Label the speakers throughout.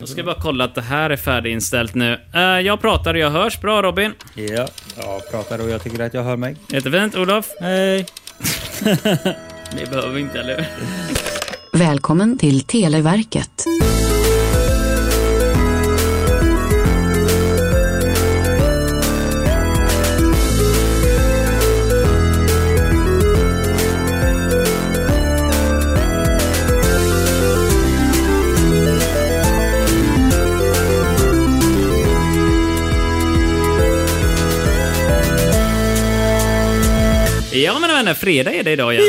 Speaker 1: Då ska jag bara kolla att det här är färdiginställt nu. Eh, jag pratar och jag hörs. Bra Robin.
Speaker 2: Ja, jag pratar och jag tycker att jag hör mig.
Speaker 1: Jättefint. Olof.
Speaker 2: Hej!
Speaker 1: Ni behöver inte, eller hur?
Speaker 3: Välkommen till Televerket.
Speaker 1: Ja mina vänner, fredag är det idag igen.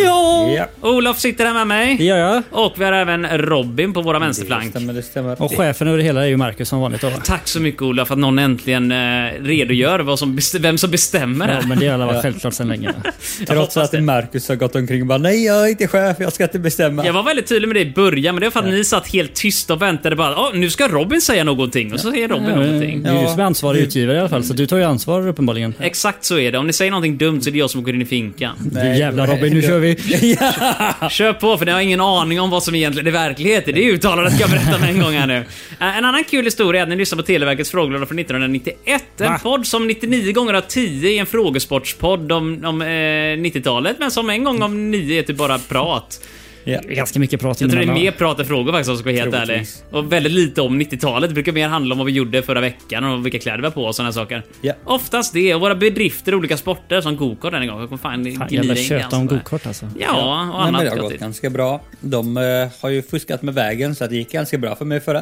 Speaker 2: Ja,
Speaker 1: Olof sitter här med
Speaker 4: Det
Speaker 1: mig.
Speaker 4: gör jag.
Speaker 1: Och vi har även Robin på våra vänsterflank.
Speaker 2: stämmer, det stämmer.
Speaker 4: Och chefen över det hela är ju Marcus som vanligt. Då.
Speaker 1: Tack så mycket Olof för att någon äntligen eh, redogör vad som best- vem som bestämmer
Speaker 4: Ja,
Speaker 1: här.
Speaker 4: men det har varit självklart sedan länge.
Speaker 1: hoppas
Speaker 2: Trots att
Speaker 1: det.
Speaker 2: Marcus har gått omkring och bara nej, jag är inte chef, jag ska inte bestämma.
Speaker 1: Jag var väldigt tydlig med det i början, men det var för att ni satt helt tysta och väntade bara "Ah, nu ska Robin säga någonting. Och så säger Robin någonting.
Speaker 4: Det är ju du som är ansvarig utgivare i alla fall, så du tar ju ansvar uppenbarligen.
Speaker 1: Exakt så är det. Om ni säger någonting dumt så är det jag som går in i finkan.
Speaker 4: Du jävla Robin, nu kör vi!
Speaker 1: Kör på för ni har ingen aning om vad som egentligen är verklighet i det uttalandet ska jag berätta med en gång här nu. Eh, En annan kul historia är att ni lyssnar på Televerkets frågelåda från 1991. En podd som 99 gånger av 10 är en frågesportspodd om, om eh, 90-talet, men som en gång om 9 är typ bara prat.
Speaker 4: Det är Ganska mycket prat
Speaker 1: Jag tror det är
Speaker 4: emellan.
Speaker 1: mer prat än frågor faktiskt om jag ska vara helt ärlig.
Speaker 2: Troligtvis.
Speaker 1: Och väldigt lite om 90-talet. Det brukar mer handla om vad vi gjorde förra veckan och vilka kläder vi har på och sådana saker.
Speaker 2: Ja.
Speaker 1: Oftast det. Och våra bedrifter i olika sporter som gokart den en gång. Jag kommer fan
Speaker 4: Fan,
Speaker 1: gnida
Speaker 4: jävla
Speaker 1: in
Speaker 4: tjöta
Speaker 1: ganska
Speaker 4: om
Speaker 1: på det.
Speaker 4: gokart alltså.
Speaker 1: Ja, och
Speaker 2: Nej, men
Speaker 1: annat
Speaker 2: det har
Speaker 1: gott
Speaker 2: gått
Speaker 1: dit.
Speaker 2: ganska bra. De eh, har ju fuskat med vägen så att det gick ganska bra för mig förra,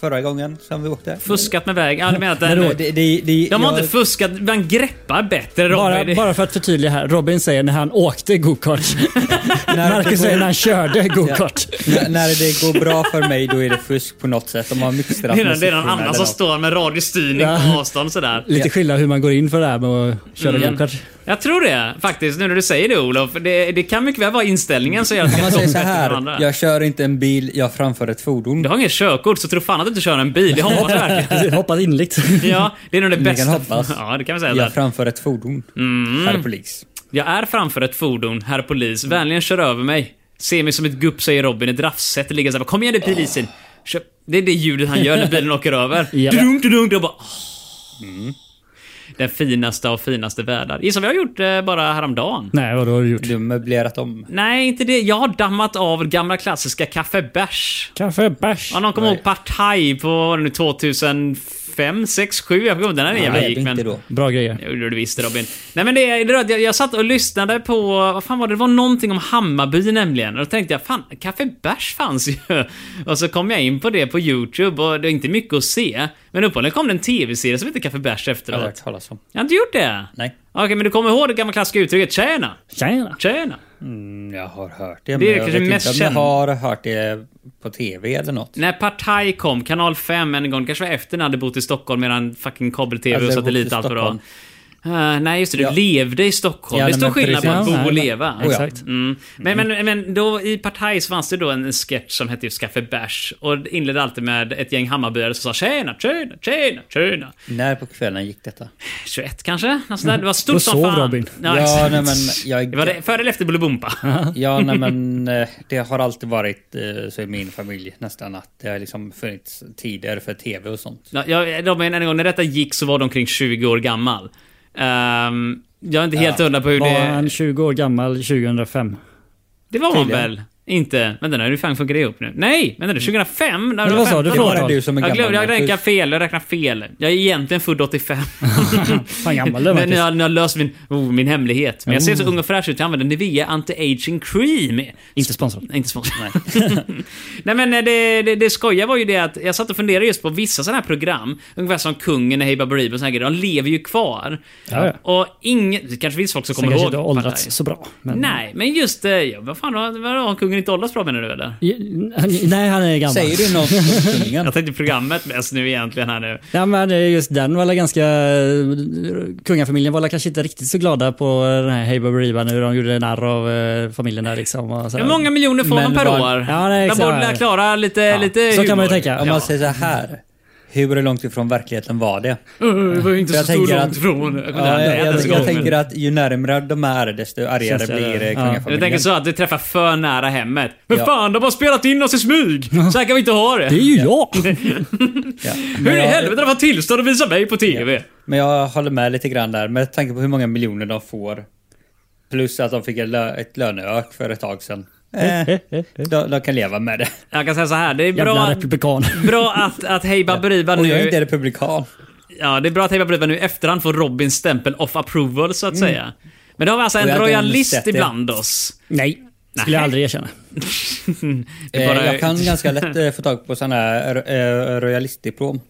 Speaker 2: förra gången som vi åkte.
Speaker 1: Fuskat med väg. Ja, du menar att den,
Speaker 2: Vadå? Det- det- det-
Speaker 1: De har
Speaker 2: jag-
Speaker 1: inte fuskat, man greppar bättre
Speaker 4: Bara,
Speaker 1: Robin.
Speaker 4: bara för att förtydliga här. Robin säger när han åkte gokart. Marcus säger när han körde gokart.
Speaker 2: N- när det går bra för mig då är det fusk på något sätt. De har mycket straff
Speaker 1: Det är,
Speaker 2: med
Speaker 1: det är någon
Speaker 2: siffrorna
Speaker 1: annan
Speaker 2: eller
Speaker 1: som
Speaker 2: något.
Speaker 1: står med radiostyrning på
Speaker 4: Ja.
Speaker 1: avstånd sådär.
Speaker 4: Lite skillnad hur man går in för det här med att köra
Speaker 1: Mm.
Speaker 4: gokart.
Speaker 1: Jag tror det faktiskt, nu när du säger det Olof. Det, det kan mycket väl vara inställningen som gör att
Speaker 2: Om man
Speaker 1: det är
Speaker 2: säger så
Speaker 1: långt bättre än andra.
Speaker 2: här. Jag kör inte en bil, jag framför ett fordon.
Speaker 1: Du har ingen körkort, så tro fan att du inte kör en bil. Det hoppas jag verkligen.
Speaker 4: Hoppas inligt.
Speaker 1: Ja, det är nog det
Speaker 2: kan
Speaker 1: bästa.
Speaker 2: hoppas.
Speaker 1: Ja, det Mm. kan vi säga.
Speaker 2: Jag
Speaker 1: Jag,
Speaker 2: framför ett fordon. Herr polis.
Speaker 1: jag är framför ett fordon, herr polis. Vänligen kör över mig. Se mig som ett gupp, säger Robin. Ett raffsätt ligger såhär. Kom igen nu polisen. Kör. Det är det ljudet han gör när bilen åker över.
Speaker 4: Ja.
Speaker 1: Dunk, dunk, och bara... "Ah." Mm. Den finaste av finaste världar. Gissa vad jag har gjort eh, bara häromdagen.
Speaker 4: Nej, vad har du gjort?
Speaker 2: Du har möblerat om.
Speaker 1: Nej, inte det. Jag har dammat av gamla klassiska kaffebärs.
Speaker 4: Kaffe, bärs.
Speaker 1: Ja, någon kommer ihåg Partaj på vad var det nu 2005, 6, 7? Jag kommer inte ihåg när den jävla
Speaker 2: Nej,
Speaker 1: gick.
Speaker 2: det är
Speaker 1: Men...
Speaker 2: inte då.
Speaker 4: Bra grejer.
Speaker 1: Jo, det gjorde du visst Robin. Nej men det, det, var att jag, jag satt och lyssnade på, vad fan var det? Det var någonting om Hammarby nämligen. Och då tänkte jag, fan, Café Bärs fanns ju. Och så kom jag in på det på YouTube och det är inte mycket att se. Men uppenbarligen kom det en TV-serie som heter Café Bärs
Speaker 2: Jag har
Speaker 1: efteråt.
Speaker 2: hört talas om.
Speaker 1: Jag har inte gjort det?
Speaker 2: Nej.
Speaker 1: Okej, men du kommer ihåg det gamla klassiska uttrycket “Tjena,
Speaker 4: Tjena.
Speaker 1: tjena”?
Speaker 2: Mm, Jag har hört det. men
Speaker 1: Det är
Speaker 2: jag
Speaker 1: kanske
Speaker 2: vet
Speaker 1: mest
Speaker 2: inte om jag
Speaker 1: kända.
Speaker 2: har hört det på TV eller något.
Speaker 1: När Partaj kom, kanal 5 en gång, kanske var efter när han hade bott i Stockholm medan fucking kabel-tv
Speaker 2: Alltså,
Speaker 1: och
Speaker 2: jag bodde i
Speaker 1: satellit allt vad det var.
Speaker 2: Stockholm.
Speaker 1: Eh, nej just det, du
Speaker 2: Ja.
Speaker 1: levde i Stockholm.
Speaker 2: Ja,
Speaker 1: det är
Speaker 2: nej,
Speaker 1: stor
Speaker 2: men
Speaker 1: skillnad på att
Speaker 4: precis.
Speaker 1: bo och
Speaker 4: Ja,
Speaker 1: leva.
Speaker 4: ja, exakt.
Speaker 1: Mm. Men, men, men då i Partaj så fanns det då en sketch som hette just Café Bärs och det inledde alltid med ett gäng Hammarbyare som sa “Tjena, tjena, tjena, tjena”.
Speaker 2: När på kvällen gick detta?
Speaker 1: 21 kanske? Något sånt där. Det var stort
Speaker 4: Då
Speaker 1: som
Speaker 4: sov
Speaker 1: fan.
Speaker 4: Robin.
Speaker 1: Ja,
Speaker 2: Ja,
Speaker 1: exakt.
Speaker 2: nej, men jag-
Speaker 1: Det var det, före eller efter Bolibompa?
Speaker 2: Ja, nej, men eh, det har alltid varit eh, så i min familj nästan att det har liksom funnits tider för TV och sånt.
Speaker 1: Ja, jag, de, en gång när detta gick så var de kring 20 år gammal. Ehm, jag är inte helt hundra på hur
Speaker 4: Var
Speaker 1: det...
Speaker 4: han 20 år gammal 2005?
Speaker 1: Det var man
Speaker 2: Tydligen.
Speaker 1: väl? Inte? Men den har ju fan funkar det ihop nu. Nej! Men den är 2005? När jag
Speaker 4: vad sa
Speaker 1: var
Speaker 4: du?
Speaker 1: 15 år.
Speaker 4: Förlåt,
Speaker 2: du som är
Speaker 1: jag glömde, jag
Speaker 2: gammal,
Speaker 1: räknar
Speaker 2: Marcus.
Speaker 1: fel. Jag räknar fel. Jag är egentligen född 85.
Speaker 4: Fan gammal du är,
Speaker 1: Men nu
Speaker 4: Marcus.
Speaker 1: har, nu har jag löst min, oh, min hemlighet. Men jag ser så ung och fräsch ut. Jag använder Nivea Anti-Aging Cream.
Speaker 4: Inte sponsrad.
Speaker 1: Nej, Inte sponsrat. Nej. Nej men eh, det, det, det skoja var ju det att jag satt och funderade just på vissa sådana här program, ungefär som Kungen och Hey Baberiba och såna här grejer, de lever ju kvar.
Speaker 4: Ja, ja.
Speaker 1: Och ingen, det kanske finns folk som
Speaker 4: Sen
Speaker 1: kommer
Speaker 4: kanske
Speaker 1: ihåg.
Speaker 4: inte har åldrats
Speaker 1: Partaj.
Speaker 4: så bra. Men...
Speaker 1: Nej, men just det. Ja, vad fan, har, vad har kungen inte åldrats bra menar du eller?
Speaker 4: Nej, han är gammal.
Speaker 2: Säger du något om kungen?
Speaker 1: Jag tänkte programmet mest nu egentligen här nu.
Speaker 4: Ja, men det är just den var alla ganska... Kungafamiljen var alla kanske inte riktigt så glada på den här Hey Baberiba nu. De gjorde narr av eh, familjen där liksom. Och så
Speaker 1: Hur
Speaker 4: här.
Speaker 1: många miljoner får
Speaker 2: Men
Speaker 1: de per
Speaker 2: var-
Speaker 1: år?
Speaker 4: Ja, nej,
Speaker 1: De
Speaker 4: exakt.
Speaker 1: borde klara lite,
Speaker 4: Ja,
Speaker 1: lite
Speaker 4: så kan man ju
Speaker 1: humor.
Speaker 4: tänka.
Speaker 2: Om
Speaker 1: Ja.
Speaker 2: man säger så här. Hur långt ifrån verkligheten var det?
Speaker 1: Uh, det var ju inte
Speaker 2: För
Speaker 1: så
Speaker 2: jag
Speaker 1: stor
Speaker 2: tänker
Speaker 1: långt
Speaker 2: att-
Speaker 1: ifrån. Jag, kunde
Speaker 2: Ja,
Speaker 1: aldrig
Speaker 2: jag,
Speaker 1: äta
Speaker 2: jag,
Speaker 1: så
Speaker 2: jag
Speaker 1: gott, men-
Speaker 2: tänker att ju närmare de är desto argare
Speaker 4: Känns det-
Speaker 2: blir eh,
Speaker 4: ja.
Speaker 1: jag
Speaker 2: kungafamiljen.
Speaker 1: tänker så att det träffar för nära hemmet. Men
Speaker 2: Ja.
Speaker 1: fan, de har spelat in oss i smyg! Så här kan vi inte ha det!
Speaker 4: Det är ju jag!
Speaker 2: Ja.
Speaker 1: Hur
Speaker 2: Men
Speaker 1: i
Speaker 2: jag-
Speaker 1: helvete har de fått tillstånd att visa mig på TV?
Speaker 2: Men jag håller med lite grann där med tanke på hur många miljoner de får. Plus att de fick en lö- ett löneök för ett tag sedan. Eh, de, de kan leva med det.
Speaker 1: Jag kan säga så här, det är
Speaker 4: Jävla
Speaker 1: bra,
Speaker 4: republikan.
Speaker 1: bra att, att Hey Baberiba
Speaker 2: Och jag är
Speaker 1: nu...
Speaker 2: inte republikan.
Speaker 1: Ja, det är bra att Hey Baberiba nu i efterhand får Robins stämpel of approval, så att säga. Men då har vi alltså
Speaker 2: Mm. Och jag
Speaker 1: en
Speaker 2: har inte
Speaker 1: royalist
Speaker 2: sett det.
Speaker 1: ibland oss.
Speaker 4: Nej, skulle jag aldrig erkänna.
Speaker 1: Det är bara
Speaker 2: Eh, jag kan ganska lätt eh, få tag på sådana här ro- eh, royalistdiplom.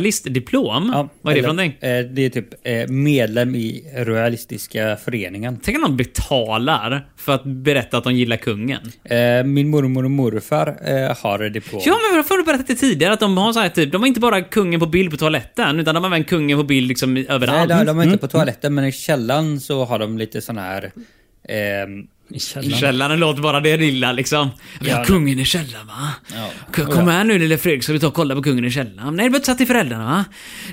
Speaker 1: royalistdiplom?
Speaker 2: Ja,
Speaker 1: Vad är det
Speaker 2: eller,
Speaker 1: för någonting?
Speaker 2: eh, Det är typ eh, medlem i royalistiska föreningen.
Speaker 1: Tänk om de betalar för att berätta att de gillar kungen.
Speaker 2: Eh, Min mormor och morfar eh, har ett diplom.
Speaker 1: Ja, men varför har du berättat det tidigare? Att de har så här typ, de har inte bara kungen på bild på toaletten, utan de har även kungen på bild liksom i-
Speaker 2: Nej,
Speaker 1: överallt.
Speaker 2: de, de är
Speaker 1: mm.
Speaker 2: inte på toaletten, men i källaren så har de lite sådana här... ehm,
Speaker 4: I
Speaker 1: I
Speaker 4: källaren.
Speaker 1: källaren låter bara det lilla liksom. Vi har
Speaker 2: Ja.
Speaker 1: kungen i källaren va?
Speaker 2: Ja.
Speaker 1: K- Kom här nu lille Fredrik, ska vi ta och kolla på kungen i källaren? Nej, du behöver inte säga till föräldrarna va?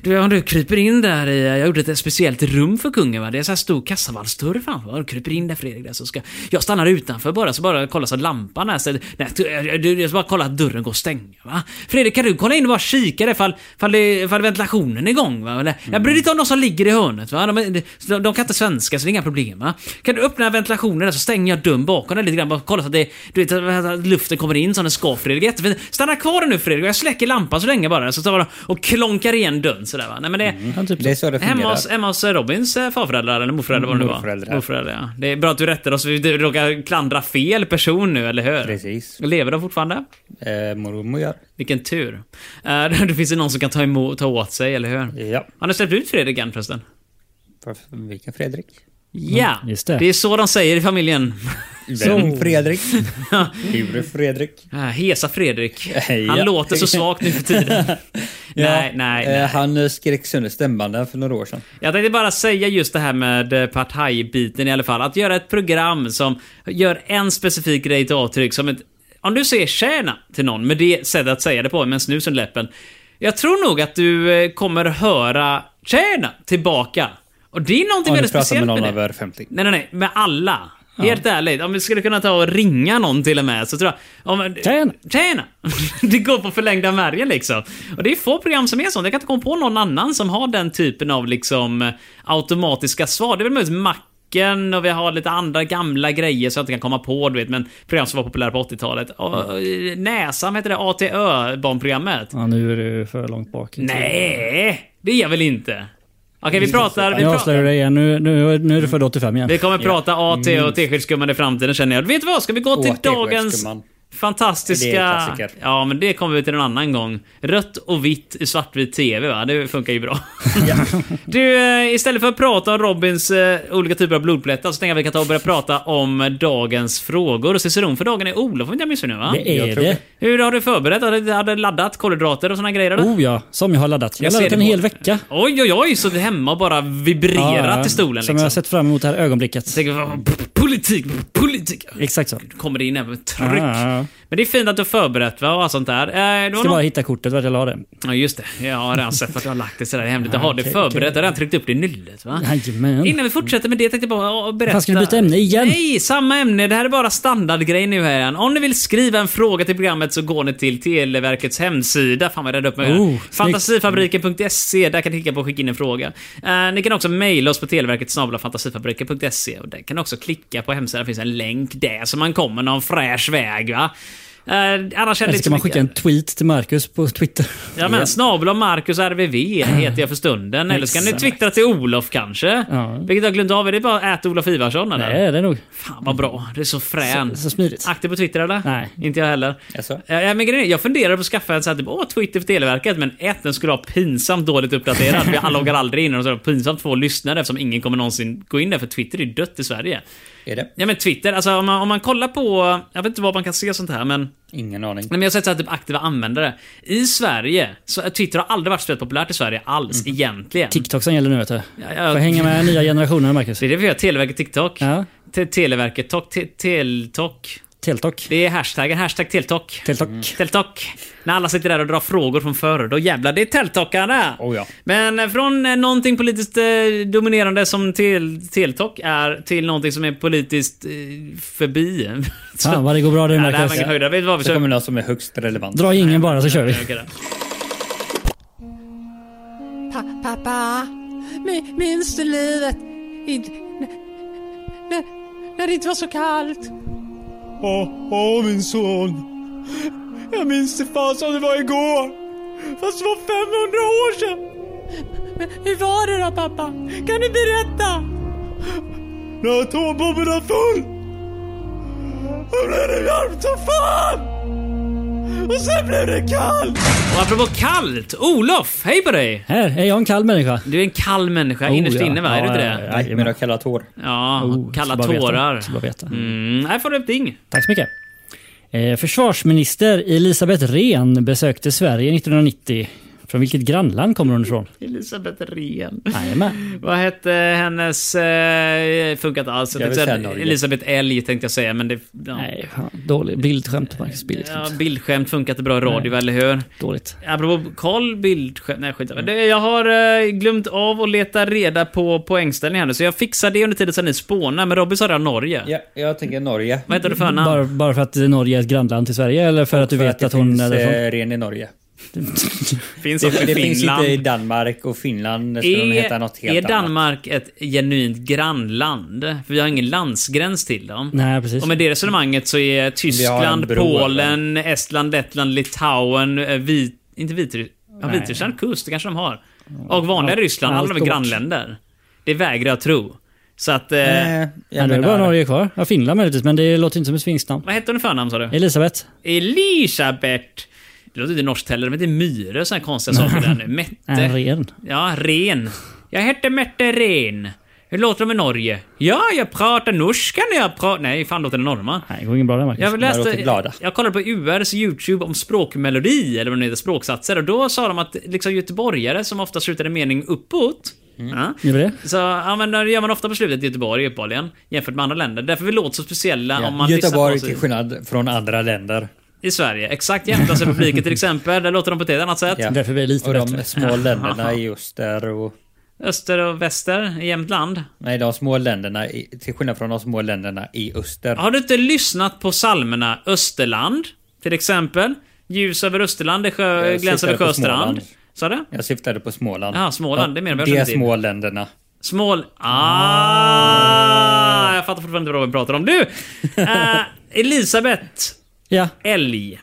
Speaker 1: Du, om du kryper in där i, jag gjorde ett speciellt rum för kungen va? Det är så här stor kassavalvsdörr framför. Du kryper in där Fredrik där så ska... Jag stannar utanför bara, så bara kolla så att lampan är så... Nej, du, jag- jag ska bara kolla att dörren går att stänga va? Fredrik, kan du kolla in och bara kika där fall, fall, det- fall ventilationen är igång va? Eller, Jag bryr dig inte om de som ligger i hörnet va? De, är- de, de kan inte svenska så det är inga problem va? Kan du öppna ventilationen där så stänger jag dörren bakom dig lite grann. Bara kolla så att det, du vet, att luften kommer in som den ska Fredrik. Jättefint. Stanna kvar nu Fredrik och jag släcker lampan så länge bara. Så tar jag och klonkar igen dörren sådär va? Nej men det...
Speaker 4: Ja, typ
Speaker 2: Det är så Mm. det fungerar.
Speaker 1: Hemma hos, hemma hos Robins eh, farföräldrar, eller morföräldrar vad det nu var.
Speaker 2: Morföräldrar.
Speaker 1: Morföräldrar, ja. Det är bra att du rättar oss, du råkar klandra fel person nu, eller hur?
Speaker 2: Precis.
Speaker 1: Lever de fortfarande?
Speaker 2: Eh, mormor gör.
Speaker 1: Vilken tur. Eh, det finns ju någon som kan ta, emot, ta åt sig, eller hur?
Speaker 2: Ja.
Speaker 1: Har ni släppt ut Fredrik än förresten?
Speaker 2: Varför- Vilken Fredrik?
Speaker 1: Ja!
Speaker 4: just det.
Speaker 1: det är så de säger i familjen.
Speaker 2: Vem Fredrik? Hur Fredrik?
Speaker 1: Ah, Hesa Fredrik.
Speaker 2: Eh,
Speaker 1: Han
Speaker 2: ja.
Speaker 1: låter så svagt nu för tiden. Nej, nej, nej.
Speaker 2: Eh, han eh, skrek sönder stämbanden för några år sedan.
Speaker 1: Jag tänkte bara säga just det här med eh, partajbiten i alla fall. Att göra ett program som gör en specifik grej till avtryck. Som ett, om du säger tjäna till någon med det sättet att säga det på, med en snus under läppen. Jag tror nog att du eh, kommer höra tjäna tillbaka. Och det är någonting
Speaker 2: Om du
Speaker 1: väldigt
Speaker 2: pratar
Speaker 1: speciellt
Speaker 2: med någon
Speaker 1: med det.
Speaker 2: över 50.
Speaker 1: Nej, nej, nej. Med alla. Helt ärligt. Om vi skulle kunna ta och ringa någon till och med så tror jag... Om,
Speaker 4: Tjena.
Speaker 1: Tjena! Det går på förlängda märgen liksom. Och det är få program som är sånt. Jag kan inte komma på någon annan som har den typen av liksom eh, automatiska svar. Det är väl möjligtvis Macken och vi har lite andra gamla grejer som jag inte kan komma på, du vet. Men program som var populära på 80-talet. Och, eh, Näsam heter det, ATÖ, barnprogrammet.
Speaker 4: Ja, nu är du för långt bak.
Speaker 1: Nej, det är jag väl inte? Okej, vi pratar... Vi
Speaker 4: Nu avslöjar
Speaker 1: pratar.
Speaker 4: du dig igen. Nu, nu, nu är du född 85 igen.
Speaker 1: Vi kommer prata AT och Teskedsgumman i framtiden känner jag. Vet du vad? Ska vi gå till
Speaker 2: Åh,
Speaker 1: dagens
Speaker 2: Teskedsgumman.
Speaker 1: fantastiska...
Speaker 2: Det är klassiker.
Speaker 1: Ja, men det kommer vi till en annan gång. Rött och vitt i svartvit TV, va? Det funkar ju bra. du, eh, istället för att prata om Robins eh, olika typer av blodplättar så tänker jag att vi kan ta och börja prata om eh, dagens frågor. Och ciceron för dagen är Olof, om inte jag missminner mig, va?
Speaker 4: Det
Speaker 2: Jag
Speaker 4: är
Speaker 2: tror
Speaker 4: det.
Speaker 1: Hur har du förberett? Har du har du laddat kolhydrater och såna grejer? Eller?
Speaker 4: Oh ja, som jag har laddat. Jag
Speaker 1: Jag
Speaker 4: har
Speaker 1: ser
Speaker 4: laddat
Speaker 1: det
Speaker 4: en
Speaker 1: på
Speaker 4: hel
Speaker 1: dig.
Speaker 4: vecka.
Speaker 1: Oj, oj, oj, så det hemma bara vibrerat i stolen
Speaker 4: Som
Speaker 1: liksom.
Speaker 4: jag har sett fram emot det här ögonblicket.
Speaker 1: Tänker, "Vad- politik, politik.
Speaker 4: Exakt så.
Speaker 1: kommer det in även med tryck.
Speaker 4: Ja, ja.
Speaker 1: Men det är fint att du har förberett va, och allt sånt där. Eh, det var
Speaker 4: Ska bara
Speaker 1: någon...
Speaker 4: hitta kortet vart jag la det.
Speaker 1: Ja, just det. Jag har redan sett att du har lagt det sådär hemligt. Jag har det
Speaker 4: okej,
Speaker 1: förberett.
Speaker 4: okej.
Speaker 1: Jag har redan tryckt upp det i nyllet va?
Speaker 4: Jajamän.
Speaker 1: Innan vi fortsätter med det tänkte jag bara åh, berätta.
Speaker 4: Fan, ska vi byta ämne igen?
Speaker 1: Nej, samma ämne. Det här är bara standardgrej nu här igen. Om ni vill skriva en fråga till programmet så går ni till Televerkets hemsida. Fan vad jag räddade upp mig. här.
Speaker 4: Oh, snyggt.
Speaker 1: Fantasifabriken.se. E. Där kan ni klicka på skicka in en fråga. Eh, ni kan också mejla oss på Televerket snabla fantasifabriken.se. E. Och där kan ni också klicka på hemsidan. Det finns en länk där så man kommer någon fräsch väg va. Eh, annars känner
Speaker 4: Eller
Speaker 1: jag
Speaker 4: ska man
Speaker 1: mycket.
Speaker 4: skicka en tweet till Marcus på Twitter?
Speaker 1: Ja men snabel och Marcus RVV heter jag för stunden. Eller så kan ni
Speaker 4: Exakt.
Speaker 1: twittra till Olof kanske?
Speaker 4: Ja.
Speaker 1: Vilket jag glömt av. Är det bara att Olof Ivarsson eller?
Speaker 4: Nej, det är nog.
Speaker 1: Fan vad bra. Det är så frän.
Speaker 4: Så, så smidigt.
Speaker 1: Aktiv på Twitter eller?
Speaker 4: Nej.
Speaker 1: Inte jag heller.
Speaker 2: Jaså?
Speaker 1: Eh, Ja, men grejen är, jag funderar på att skaffa en sån här typ, åh, Twitter för Televerket, men ett, den skulle vara pinsamt dåligt uppdaterad, för jag loggar aldrig in, och så är det pinsamt få lyssnare eftersom ingen kommer någonsin gå in där, för Twitter är dött i Sverige.
Speaker 2: Är det?
Speaker 1: Ja men Twitter, alltså om man, om man kollar på, jag vet inte vad man kan se sånt här, men
Speaker 2: Ingen aning.
Speaker 1: Nej, men jag har sett så här, typ aktiva användare. I Sverige, så Twitter har aldrig varit så populärt i Sverige alls, egentligen.
Speaker 4: TikTok som gäller nu vet du.
Speaker 1: Ja, ja.
Speaker 4: Får hänga med nya generationer Marcus.
Speaker 1: Det är det vi gör, Televerket TikTok.
Speaker 4: Ja.
Speaker 1: Te- Televerket Tok, te- Teltok.
Speaker 4: Teltok.
Speaker 1: Det är hashtaggen, hashtag Teltok.
Speaker 4: Teltok.
Speaker 1: Teltok. När alla sitter där och drar frågor från förr, då jävlar, det är Teltokarna!
Speaker 2: Oh ja.
Speaker 1: Men eh, från eh, någonting politiskt eh, dominerande som tel- Teltok är till någonting som är politiskt eh, förbi. Så-
Speaker 4: Fan vad det går bra det
Speaker 1: Nej, det här var
Speaker 4: Marcus.
Speaker 1: ingen höjdare. Vet du vad vi
Speaker 2: Så
Speaker 1: kör?
Speaker 2: kommer någon som är högst relevant.
Speaker 4: Dra ingen bara så kör vi.
Speaker 1: Okej då.
Speaker 5: Pa pappa, mi- minns du livet? Inte, när, när det inte var så kallt?
Speaker 6: Åh, åh min son. Jag minns det fan som det var igår. Fast det var 500 år sedan.
Speaker 5: Hur var det då pappa? Kan du berätta?
Speaker 6: När atombomben var full. Då blev det varmt som fan. Och sen blev det kallt.
Speaker 1: Och apropå kallt, Olof, hej på dig!
Speaker 4: Här, är jag en kall människa?
Speaker 1: Du är en kall människa
Speaker 4: Oh,
Speaker 1: innerst
Speaker 4: ja.
Speaker 1: inne va? Är du
Speaker 4: Ja,
Speaker 1: inte
Speaker 4: ja,
Speaker 1: det?
Speaker 4: ja.
Speaker 2: Nej, men jag kallat hår.
Speaker 1: Ja,
Speaker 4: Oh,
Speaker 1: kalla
Speaker 4: så bara veta.
Speaker 1: tårar.
Speaker 4: Så bara veta.
Speaker 1: Mm, här får du ett ding.
Speaker 4: Tack så mycket. Eh, försvarsminister Elisabeth Rehn besökte Sverige 1990. Från vilket grannland kommer hon ifrån?
Speaker 1: Elisabeth Rehn.
Speaker 4: Jajamän.
Speaker 1: Vad hette hennes... Eh, funkat alls. Jag
Speaker 2: Jag vill
Speaker 1: tänkte säga
Speaker 2: säga Norge.
Speaker 1: Elisabeth Älg tänkte jag säga, men det... Ja.
Speaker 4: Nej, fan, dålig. Bildskämt Marcus.
Speaker 1: Ja,
Speaker 4: Bildskämt.
Speaker 1: bildskämt funkar inte bra i radio, eller hur?
Speaker 4: Dåligt.
Speaker 1: Apropå Karl bildskämt... Nej, skit mm. Jag har eh, glömt av att leta reda på poängställningen här nu, så jag fixar det under tiden som ni spånar. Men Robin sa redan Norge.
Speaker 2: Ja, jag tänker Norge.
Speaker 1: Vad heter du för namn?
Speaker 4: Bara, bara för att Norge är ett grannland till Sverige eller för att du
Speaker 2: För
Speaker 4: vet
Speaker 2: det
Speaker 4: att hon
Speaker 2: finns,
Speaker 4: är därifrån?
Speaker 2: eh, ren i Norge.
Speaker 1: Finns
Speaker 2: Det,
Speaker 1: också i
Speaker 2: det finns
Speaker 1: Finland.
Speaker 2: inte i Danmark och Finland. Skulle de heta något
Speaker 1: Är,
Speaker 2: helt
Speaker 1: är
Speaker 2: annat.
Speaker 1: Danmark ett genuint grannland? För vi har ingen landsgräns till dem.
Speaker 4: Nej, precis.
Speaker 1: Och med det resonemanget så är Tyskland,
Speaker 2: bro,
Speaker 1: Polen, Estland, Lettland, Litauen, eh, vit, inte Vitryssland, ja,
Speaker 4: Nej.
Speaker 1: Vitryssland kust, det kanske de har. Och vanliga Ryssland, alla de är
Speaker 4: allt
Speaker 1: grannländer. Det vägrar jag tro. Så att... Eh,
Speaker 2: Eh,
Speaker 4: Nej,
Speaker 2: jag
Speaker 4: det är bara
Speaker 2: menar,
Speaker 4: Norge kvar. Ja, Finland möjligtvis, men det låter inte som ett finskt namn.
Speaker 1: Vad hette hon i förnamn sa du?
Speaker 4: Eh. Elisabeth?
Speaker 1: Elisabeth! Det låter inte norskt heller, men det är myre sådana konstiga saker där nu.
Speaker 4: Nej,
Speaker 1: Mette.
Speaker 4: Rehn.
Speaker 1: Ja, Ren. Jag hette Mette Ren. Hur låter det med Norge? Ja, jag pratar norska när jag pratar... Nej, fan låter det norrman?
Speaker 4: Nej, det går ingen bra där Marcus.
Speaker 1: Jag
Speaker 2: låter
Speaker 1: läste,
Speaker 2: glada.
Speaker 1: jag kollade på URs YouTube om språkmelodi, eller vad det heter, språksatser. Och då sa de att liksom göteborgare som ofta slutar en mening uppåt.
Speaker 2: Mm.
Speaker 1: Ja,
Speaker 4: Gör vi det?
Speaker 1: så ja, men det gör man ofta på slutet i Göteborg uppenbarligen, jämfört med andra länder. Därför vi låter så speciella om man
Speaker 2: Göteborg
Speaker 1: lyssnar
Speaker 2: till
Speaker 1: på oss
Speaker 2: skillnad från andra länder.
Speaker 1: i, i Sverige. Exakt, Jämtlandsrepubliken till exempel, där låter de på ett helt annat sätt.
Speaker 2: Ja.
Speaker 4: Därför blir det lite
Speaker 2: och
Speaker 4: bättre.
Speaker 2: de små länderna är just där och...
Speaker 1: Öster och väster i Jämtland.
Speaker 2: Nej, de små länderna, i, till skillnad från de små länderna i öster.
Speaker 1: Har du inte lyssnat på psalmerna Österland, till exempel? Ljus över Österland, det sjö,
Speaker 2: Jag
Speaker 1: gläns över
Speaker 2: syftade på
Speaker 1: sjöstrand.
Speaker 2: Småland.
Speaker 1: Sa du?
Speaker 2: Jag syftade på Småland.
Speaker 1: Ja, Småland, det menar vi
Speaker 2: De
Speaker 1: absolut inte.
Speaker 2: små länderna.
Speaker 1: Smål... Ah! Jag fattar fortfarande inte vad Robin pratar om. Du! Eh, Elisabeth
Speaker 4: Ja.
Speaker 1: Älg.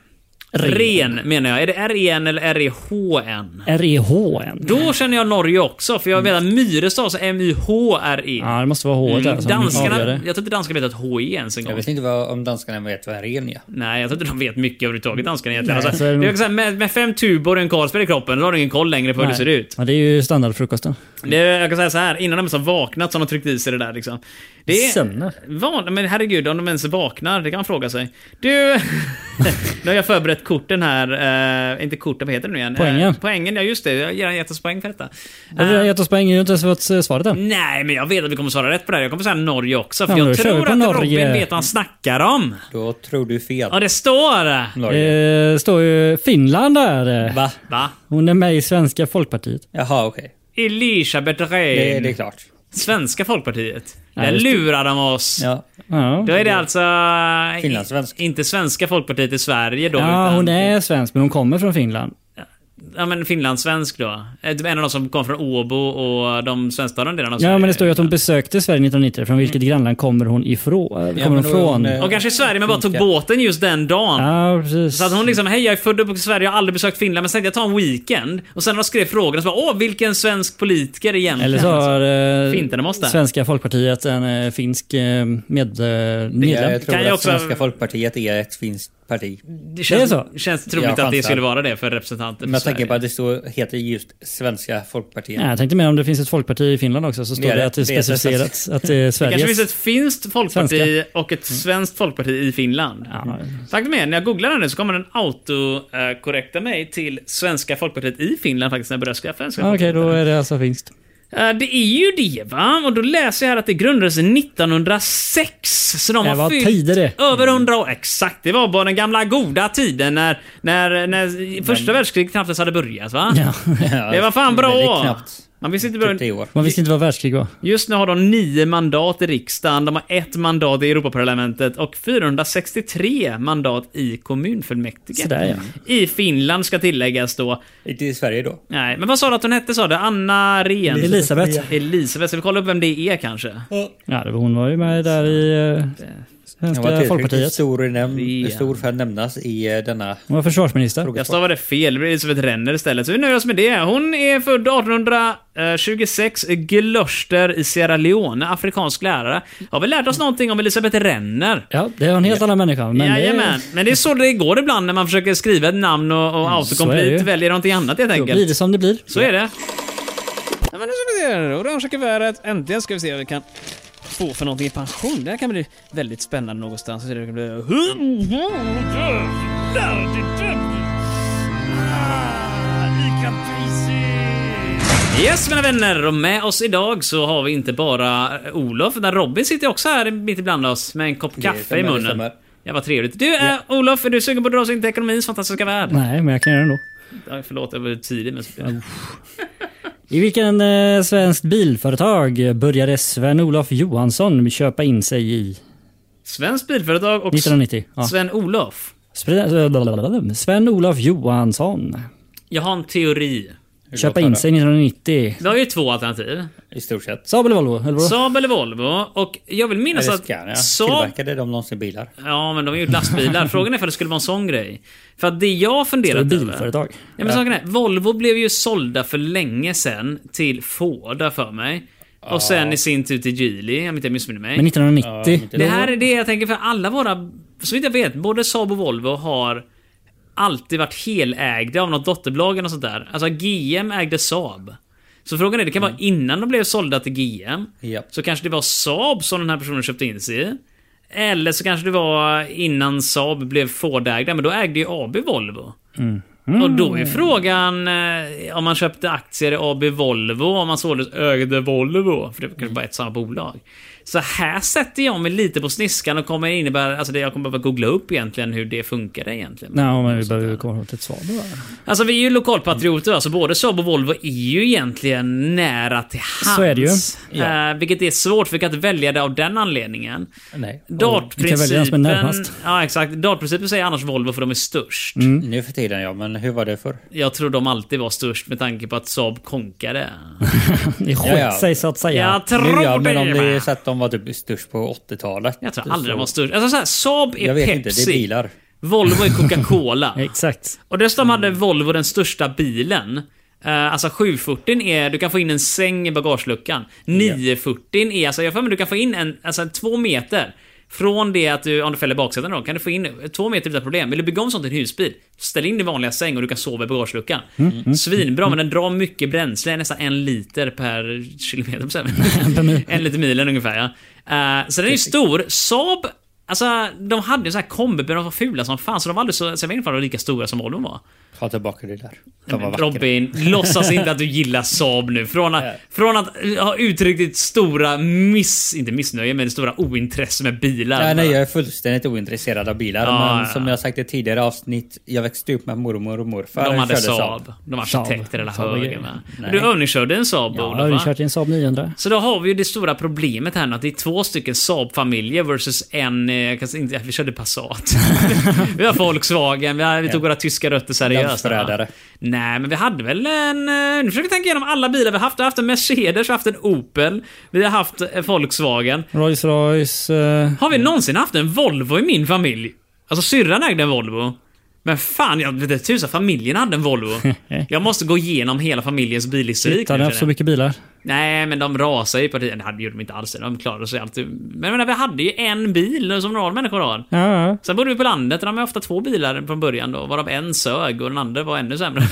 Speaker 4: Ren.
Speaker 1: Ren menar jag. Är det R-E-N eller R-E-H-N?
Speaker 4: R-E-H-N.
Speaker 1: Då känner jag Norge också, för jag vet att Myre stavas M-Y-H-R-E.
Speaker 4: Ja, det måste vara H där
Speaker 1: E.
Speaker 4: som
Speaker 1: Mm, Danskarna,
Speaker 4: avgör
Speaker 1: jag
Speaker 4: det.
Speaker 1: tror inte danskarna vet att H är ens en
Speaker 2: Jag
Speaker 1: gång.
Speaker 2: vet inte vad, om danskarna vet vad ren är.
Speaker 1: Nej, jag tror inte de vet mycket överhuvudtaget, danskarna egentligen.
Speaker 4: Nej,
Speaker 1: alltså,
Speaker 4: så är det
Speaker 1: det
Speaker 4: nog.
Speaker 1: är också så här, med, med fem tubor och en Carlsberg i kroppen, då har du ingen koll längre på hur det
Speaker 4: Nej.
Speaker 1: ser ut.
Speaker 4: Ja, det är ju standardfrukosten.
Speaker 1: Det, jag kan säga så här, innan de ens har vaknat så har de tryckt i sig det där liksom. Det är,
Speaker 4: Sömnen.
Speaker 1: Van, men herregud, om de ens vaknar, det kan man fråga sig. Du! nu har jag förberett korten här, eh, inte korten, vad heter det nu igen?
Speaker 4: Poängen.
Speaker 1: Eh, poängen, ja just det. Jag ger en jättespoäng för detta.
Speaker 4: Har du
Speaker 1: Eh,
Speaker 4: redan gett oss poäng? Jag har inte ens fått eh, svaret än.
Speaker 1: Nej, men jag vet att du kommer svara rätt på det här. Jag kommer säga Norge också, för
Speaker 4: Ja,
Speaker 1: jag
Speaker 4: då kör vi
Speaker 1: tror att
Speaker 4: på
Speaker 1: Robin
Speaker 4: Norge.
Speaker 1: vet vad han snackar om.
Speaker 2: Då tror du fel.
Speaker 1: Ja, Eh. det står...
Speaker 2: Norge.
Speaker 4: Det Eh, står ju Finland där. eh.
Speaker 2: Va?
Speaker 1: Va?
Speaker 4: Hon är med i Svenska Folkpartiet.
Speaker 2: Jaha, okej.
Speaker 1: Elisabeth
Speaker 2: Det,
Speaker 1: Rehn.
Speaker 2: det är klart.
Speaker 1: Svenska Folkpartiet.
Speaker 4: Ja,
Speaker 1: Där
Speaker 4: just det.
Speaker 1: lurar de oss.
Speaker 2: Ja.
Speaker 4: Ja.
Speaker 1: Då är det alltså... eh,
Speaker 2: Finlandssvensk.
Speaker 1: Inte svenska folkpartiet i Sverige då.
Speaker 4: Ja,
Speaker 1: utan-
Speaker 4: hon är svensk, men hon kommer från Finland.
Speaker 1: Ja, men finlandssvensk då. Ett- En av de som kom från Åbo och de svensktalande delarna av
Speaker 4: Ja,
Speaker 1: Sverige.
Speaker 4: men det står ju att hon besökte Sverige 1990. Från vilket grannland kommer hon ifrån?
Speaker 2: Ja,
Speaker 4: Kommer hon
Speaker 2: men då är hon,
Speaker 4: från?
Speaker 2: eh,
Speaker 1: Och kanske i Sverige, men bara tog
Speaker 2: Finska.
Speaker 1: båten just den dagen.
Speaker 4: Ja, precis.
Speaker 1: Så att hon liksom, hej jag är född och uppvuxen i Sverige, jag har aldrig besökt Finland, men sen tänkte jag ta en weekend. Och sen när jag skrev frågan så bara, åh vilken svensk politiker egentligen?
Speaker 4: Eller så har eh,
Speaker 1: Finterna måste.
Speaker 4: Svenska Folkpartiet en eh, finsk eh, med, eh, medlem.
Speaker 2: Jag tror
Speaker 1: Kan jag
Speaker 2: att
Speaker 1: också-
Speaker 2: Svenska Folkpartiet är ett finskt parti.
Speaker 1: det känns,
Speaker 4: det är så.
Speaker 1: känns troligt
Speaker 2: Jag
Speaker 1: att det
Speaker 2: chansar.
Speaker 1: skulle vara det för representanter för
Speaker 2: Men jag
Speaker 1: Sverige.
Speaker 2: tänker på att det står, heter just Svenska Folkpartiet.
Speaker 4: Nej, jag tänkte mer om det finns ett folkparti i Finland också så står
Speaker 2: Det
Speaker 4: det,
Speaker 2: är det.
Speaker 4: att det är
Speaker 2: Det är
Speaker 4: specificerat att det är
Speaker 1: det
Speaker 4: Sveriges.
Speaker 1: kanske finns ett finskt folkparti och ett svenskt folkparti i Finland.
Speaker 4: Ja,
Speaker 1: Faktum är, när jag googlar den nu så kommer den autokorrekta mig till Svenska Folkpartiet i Finland faktiskt när jag börjar skaffa en
Speaker 4: Ja, Okej, då är det alltså finskt.
Speaker 1: Eh, Det är ju det va? Och då läser jag här att det grundades 1906. Så de
Speaker 4: Äh,
Speaker 7: Det
Speaker 1: har
Speaker 7: var
Speaker 1: fyllt
Speaker 7: tider det.
Speaker 1: över 100 år. Exakt, det var bara den gamla goda tiden när, när, när första världskriget knappt ens hade börjat va?
Speaker 4: Ja.
Speaker 1: Det var fan bra.
Speaker 2: Väldigt knappt.
Speaker 1: Man visste inte
Speaker 2: Typ
Speaker 1: bra.
Speaker 2: tio år.
Speaker 4: Man visste inte vad världskrig var.
Speaker 1: Just nu har de nio mandat i riksdagen, de har ett mandat i Europaparlamentet och 463 mandat i kommunfullmäktige.
Speaker 4: Sådär, ja.
Speaker 1: I Finland ska tilläggas då.
Speaker 2: Inte i Sverige då.
Speaker 1: Nej, men vad sa du att hon hette sa du? Anna Rehn?
Speaker 4: Elisabeth.
Speaker 1: Elisabeth, ska vi kolla upp vem det är kanske?
Speaker 4: Ja, det var- hon var ju med där i eh,
Speaker 2: Han var
Speaker 4: Svenska
Speaker 2: tillräckligt
Speaker 4: Folkpartiet.
Speaker 2: stor, i
Speaker 1: Ren.
Speaker 2: näm- stor för att nämnas i eh, denna
Speaker 4: Hon var försvarsminister.
Speaker 1: Jag stavade fel, det blir Elisabeth Renner istället. Så vi nöjer oss med det. Hon är född 1826 i Gloucester i Sierra Leone, afrikansk lärare. Har vi lärt oss någonting om Elisabeth Renner?
Speaker 4: Ja, det var en helt annan människa. Men det-
Speaker 1: Jajamän, men det är så det går ibland när man försöker skriva ett namn och, och
Speaker 4: Mm, så är det
Speaker 1: autocomplete
Speaker 4: ju.
Speaker 1: väljer någonting annat helt
Speaker 4: då blir det
Speaker 1: enkelt.
Speaker 4: som det blir.
Speaker 1: Så är det.
Speaker 5: Ja, men nu ska vi se. här. Orangea kuvertet. Äntligen ska vi se vad vi kan få för någonting i pension. Det här kan bli väldigt spännande någonstans. Så det kan bli...
Speaker 1: Yes mina vänner, och med oss idag så har vi inte bara Olof, utan Robin sitter också här mitt ibland oss med en kopp kaffe i
Speaker 2: stämmer, det
Speaker 1: munnen.
Speaker 2: stämmer.
Speaker 1: Ja, vad trevligt. Du äh, Olof, är du sugen på att dra oss in till ekonomins fantastiska värld?
Speaker 4: Nej, men jag kan göra det ändå.
Speaker 1: Aj, förlåt, jag var tidig men...
Speaker 4: I vilken eh, svenskt bilföretag började Sven-Olof Johansson köpa in sig i
Speaker 1: Svenskt bilföretag och
Speaker 4: 1990? Ja.
Speaker 1: Sven-Olof.
Speaker 4: Spre- eh, Sven-Olof Johansson.
Speaker 1: Jag har en teori.
Speaker 4: Köpa
Speaker 2: låter
Speaker 4: in
Speaker 2: det?
Speaker 4: sig 1990.
Speaker 1: Vi har ju två alternativ.
Speaker 2: i stort sett.
Speaker 4: Saab eller Volvo? Eller vadå?
Speaker 1: Saab eller Volvo. Och jag vill minnas
Speaker 2: Eller
Speaker 1: att
Speaker 2: Scania.
Speaker 1: Saab
Speaker 2: Tillverkade de någonsin bilar?
Speaker 1: Ja, men de har gjort lastbilar. Frågan är för det skulle vara en sån grej. För att det jag
Speaker 4: Det är
Speaker 1: funderat över...
Speaker 4: bilföretag.
Speaker 1: Ja, men saken är, Volvo blev ju sålda för länge sedan till Ford, har jag för mig. Och sen i sin tur till Geely, om inte jag missminner mig.
Speaker 4: Men 1990?
Speaker 1: Det här är det jag tänker för alla våra, så vitt jag vet, både Saab och Volvo har alltid varit helägda av något dotterbolag eller något sånt där. Alltså GM ägde Saab. Så frågan är, det kan vara innan de blev sålda till GM.
Speaker 2: Japp.
Speaker 1: Så kanske det var Saab som den här personen köpte in sig i. Eller så kanske det var innan Saab blev Ford-ägda, men då ägde ju AB Volvo. Och då
Speaker 4: Mm.
Speaker 1: är frågan eh, om man köpte aktier i AB Volvo, om man således ägde Volvo. För det var
Speaker 4: Mm.
Speaker 1: kanske bara ett samma bolag. Så här sätter jag mig lite på sniskan och kommer innebära, alltså det jag kommer behöva googla upp egentligen hur det funkade egentligen.
Speaker 4: Nej, men vi behöver ju komma åt ett Saab bara.
Speaker 1: Alltså vi är ju lokalpatrioter, alltså både Saab och Volvo är ju egentligen nära till hands.
Speaker 4: Så är det ju.
Speaker 1: Eh, vilket är svårt, för vi kan inte välja det av den anledningen.
Speaker 2: Nej.
Speaker 4: Vi kan välja den som är
Speaker 1: Dartprincipen...
Speaker 4: närmast. Mm.
Speaker 1: Ja, exakt. Dartprincipen säger annars Volvo för de är störst.
Speaker 2: Nu för tiden ja, men hur var det förr?
Speaker 1: Jag tror de alltid var störst med tanke på att Saab konkade.
Speaker 4: Det
Speaker 2: Ja, ja.
Speaker 4: sket sig så att säga.
Speaker 1: Jag
Speaker 2: Nu ja,
Speaker 1: tror
Speaker 2: men om
Speaker 1: det!
Speaker 2: det är
Speaker 1: med.
Speaker 2: så att de var typ störst på 80-talet.
Speaker 1: Jag tror aldrig
Speaker 2: så-
Speaker 1: de var störst. Alltså så här, Saab är
Speaker 2: Jag vet inte, det är
Speaker 1: Pepsi.
Speaker 2: bilar.
Speaker 1: Volvo är Coca-Cola.
Speaker 4: Exakt.
Speaker 1: Och dessutom hade Volvo den största bilen. Eh, alltså 740 är, du kan få in en säng i bagageluckan. 940 är, alltså jag har för mig du kan få in en, alltså två meter. Från det att du, om du fäller baksätet då, kan du få in två meter utan problem. Vill du bygga om sånt till en husbil? Ställ in din vanliga säng och du kan sova i bagageluckan. Svinbra, men den drar mycket bränsle, nästan en liter per kilometer. på sämre. en liter milen ungefär ja. Eh, så den är ju stor. Saab Alltså, de hade ju så här kombibilar, de var fula som fan, så de var aldrig så, sen var de lika stora som Volvo var.
Speaker 2: Ta tillbaka det där. De var vackra.
Speaker 1: Robin, låtsas inte att du gillar Saab nu. Från att, från att ha uttryckt ditt stora miss... Inte missnöje, men det stora ointresse med bilar.
Speaker 2: Nej, nej, jag är fullständigt ointresserad av bilar.
Speaker 1: Ja,
Speaker 2: men
Speaker 1: ja,
Speaker 2: som
Speaker 1: ja.
Speaker 2: jag sagt i tidigare avsnitt, jag växte upp med mormor och morfar.
Speaker 1: de
Speaker 2: som
Speaker 1: hade
Speaker 2: körde
Speaker 1: Saab. De var arkitekter hela
Speaker 4: Saab var
Speaker 1: högen.
Speaker 4: grejen.
Speaker 1: va?
Speaker 2: Nej.
Speaker 1: Du övningskörde en Saab,
Speaker 4: Ja,
Speaker 1: Olof,
Speaker 4: vi
Speaker 1: va?
Speaker 4: kört i en Saab 900.
Speaker 1: Så då har vi ju det stora problemet här nu att det är två stycken Saab-familjer versus en... eh, Jag kanske inte, vi körde Passat. vi har Volkswagen, vi, har, vi tog våra tyska rötter seriöst. va?
Speaker 2: Landsförrädare.
Speaker 1: Nej, men vi hade väl en... eh, Nu försöker jag tänka igenom alla bilar vi har haft. Vi har haft en Mercedes, vi har haft en Opel, vi har haft eh, Volkswagen.
Speaker 4: Rolls Royce. eh,
Speaker 1: Har vi någonsin haft en Volvo i min familj? Alltså syrran ägde en Volvo. Men fan, jag vet inte tusan familjen hade en Volvo. Jag måste gå igenom hela familjens bilhistorik.
Speaker 4: Hittar
Speaker 1: nu, känner
Speaker 4: ni haft så
Speaker 1: jag.
Speaker 4: mycket bilar?
Speaker 1: Nej, men de rasade ju på tiden. Det hade- gjorde de inte alls. De klarade sig alltid. Men jag menar, vi hade ju en bil som normala människor har.
Speaker 4: Ja, ja.
Speaker 1: Sen bodde vi på landet och de hade ofta två bilar från början då, varav en sög och den andra var ännu sämre.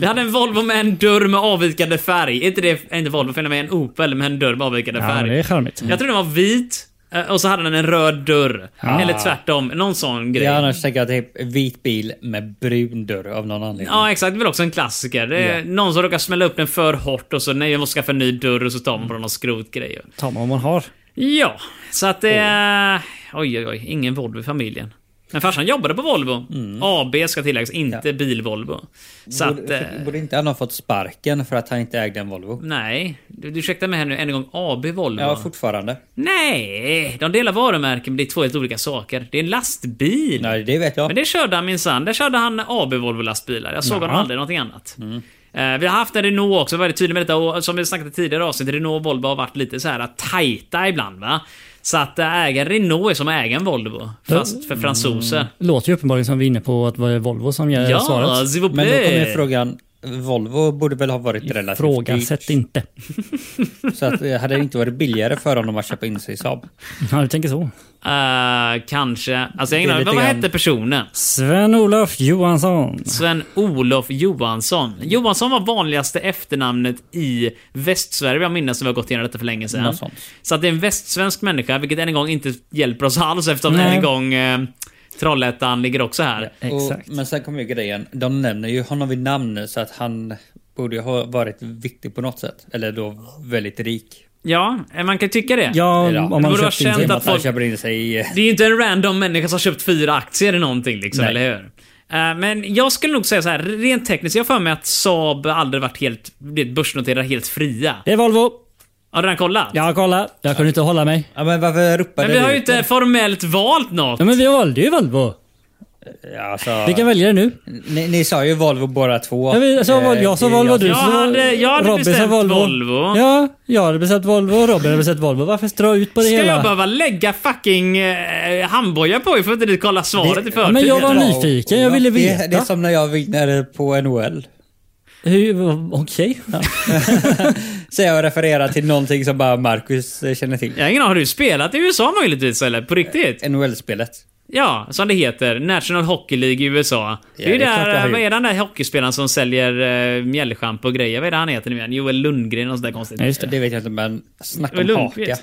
Speaker 1: Vi hade en Volvo med en dörr med avvikande färg. Inte det, inte Volvo, men en Opel med en dörr med avvikande
Speaker 4: ja men det
Speaker 1: färg.
Speaker 4: är charmigt.
Speaker 1: Jag tror den var vit Eh, Och så hade den en röd dörr. Eller tvärtom, någon sån grej.
Speaker 2: Ah. Ja,
Speaker 1: Ja,
Speaker 2: annars tänker jag att det är vit bil med brun dörr av någon anledning.
Speaker 1: exakt. Det är väl också en klassiker. Det är
Speaker 2: Ja.
Speaker 1: någon som råkar smälla upp den för hårt och så nej, jag måste skaffa en ny dörr och så tar
Speaker 2: Mm.
Speaker 1: man på någon skrotgrej.
Speaker 4: Ta man vad man har.
Speaker 1: Ja, så att det... Oj, oj, oj. Ingen Volvo i familjen. Men farsan jobbade på Volvo. AB ska tilläggas, inte bil-Volvo. Så att... eh,
Speaker 2: Mm. Borde, borde inte han ha fått sparken för att han inte ägde en Volvo?
Speaker 1: Nej, du, du ursäkta mig här nu än en gång. AB Volvo.
Speaker 2: Ja, fortfarande.
Speaker 1: Nej, de delar varumärken men det är två helt olika saker. Det är en lastbil.
Speaker 2: Nej, det vet jag.
Speaker 1: Men det körde han minsann. Där körde han AB Volvo lastbilar. Jag såg honom aldrig någonting annat.
Speaker 2: Mm.
Speaker 1: Eh, Vi har haft en Renault också, väldigt tydlig med detta. Och som vi snackade tidigare i avsnittet, Renault och Volvo har varit lite så här tajta ibland va. Så att eh, äga en Renault är som att äga en Volvo. Fast för fransoser.
Speaker 2: Mm.
Speaker 4: Låter ju uppenbarligen som vi är inne på att det var Volvo som ger
Speaker 1: Ja, alltså,
Speaker 4: svaret.
Speaker 1: s'il vous
Speaker 2: Eh, Men då kommer ju
Speaker 1: plaît.
Speaker 2: frågan. Volvo borde väl ha varit relativt
Speaker 4: Frågasätt
Speaker 2: dyrt.
Speaker 4: inte.
Speaker 2: Så att, eh, hade det inte varit billigare för honom att köpa in sig i Saab?
Speaker 4: Ja, du tänker så.
Speaker 1: Eh, kanske. Alltså jag har ingen
Speaker 2: Det är
Speaker 1: aning.
Speaker 2: lite
Speaker 1: Vad vad
Speaker 2: grann-
Speaker 1: hette personen?
Speaker 4: Sven-Olof Johansson.
Speaker 1: Sven-Olof Johansson. Johansson var vanligaste efternamnet i Västsverige, jag minns när vi har gått igenom detta för länge sedan.
Speaker 2: Något sånt.
Speaker 1: Så att det är en västsvensk människa, vilket än en gång inte hjälper oss alls eftersom
Speaker 4: Nej.
Speaker 1: än en gång eh, Trollhättan ligger också här.
Speaker 4: Exakt.
Speaker 2: Och, men sen kommer ju grejen. De nämner ju honom vid namn så att han borde ju ha varit viktig på något sätt. Eller då väldigt rik.
Speaker 1: Ja, eh, man kan tycka det.
Speaker 4: Ja,
Speaker 2: Ja,
Speaker 4: om
Speaker 1: det
Speaker 4: man
Speaker 1: borde vara
Speaker 4: köpt in
Speaker 1: känt
Speaker 4: sig.
Speaker 2: Genom
Speaker 1: att
Speaker 2: att han
Speaker 1: folk-
Speaker 2: köper in sig i... eh,
Speaker 1: Det är ju inte en random människa som har köpt fyra aktier i någonting liksom,
Speaker 2: Nej.
Speaker 1: eller hur? Eh, Men jag skulle nog säga så här, rent tekniskt, jag har för mig att Saab aldrig varit helt blivit börsnoterade helt fria.
Speaker 4: Det är Volvo.
Speaker 1: Har du redan kollat?
Speaker 4: Ja, kolla. Jag kunde inte hålla mig.
Speaker 2: Ja men varför ropade
Speaker 1: Men vi har
Speaker 2: du
Speaker 1: ju
Speaker 2: ut det?
Speaker 1: inte formellt valt något.
Speaker 4: Ja, men vi valde ju Volvo.
Speaker 2: Ja, alltså,
Speaker 4: Vi kan välja det nu.
Speaker 2: ni, ni sa ju Volvo båda två.
Speaker 4: Ja, vi, så
Speaker 2: Eh,
Speaker 4: var, jag sa
Speaker 2: det är
Speaker 4: Volvo,
Speaker 2: jag
Speaker 4: du
Speaker 1: Jag
Speaker 4: sa
Speaker 1: hade- jag hade
Speaker 4: Robin sa
Speaker 1: bestämt Volvo.
Speaker 4: Ja, jag hade beställt Volvo och Robin hade beställt Volvo. Varför strö ut på det
Speaker 1: Ska
Speaker 4: hela?
Speaker 1: jag behöva lägga fucking eh, handbojor på er för att inte kolla svaret i
Speaker 4: Ja,
Speaker 1: förtid?
Speaker 4: men jag var
Speaker 2: Ja,
Speaker 4: nyfiken, jag ville
Speaker 2: det-
Speaker 4: veta.
Speaker 2: Det är som när jag vinner på NHL.
Speaker 4: Hur- Okej.
Speaker 2: Så jag refererar till någonting som bara Marcus eh, känner till.
Speaker 1: Jag har ingen aning, har du spelat i USA möjligtvis eller? På riktigt?
Speaker 2: NHL-spelet.
Speaker 1: Ja, som det heter. National Hockey League i USA. Det är
Speaker 2: Ja,
Speaker 1: ju
Speaker 2: det är klart jag
Speaker 1: där,
Speaker 2: har
Speaker 1: eh, vad är
Speaker 2: gjort.
Speaker 1: den där hockeyspelaren som säljer uh, mjällschampo och grejer? Vad är det han heter nu igen? Joel Lundgren och sådär konstigt.
Speaker 4: Ja, just
Speaker 2: Det.
Speaker 4: det.
Speaker 2: vet jag inte men snacka
Speaker 1: Joel
Speaker 2: om haka.
Speaker 1: Lundqvist?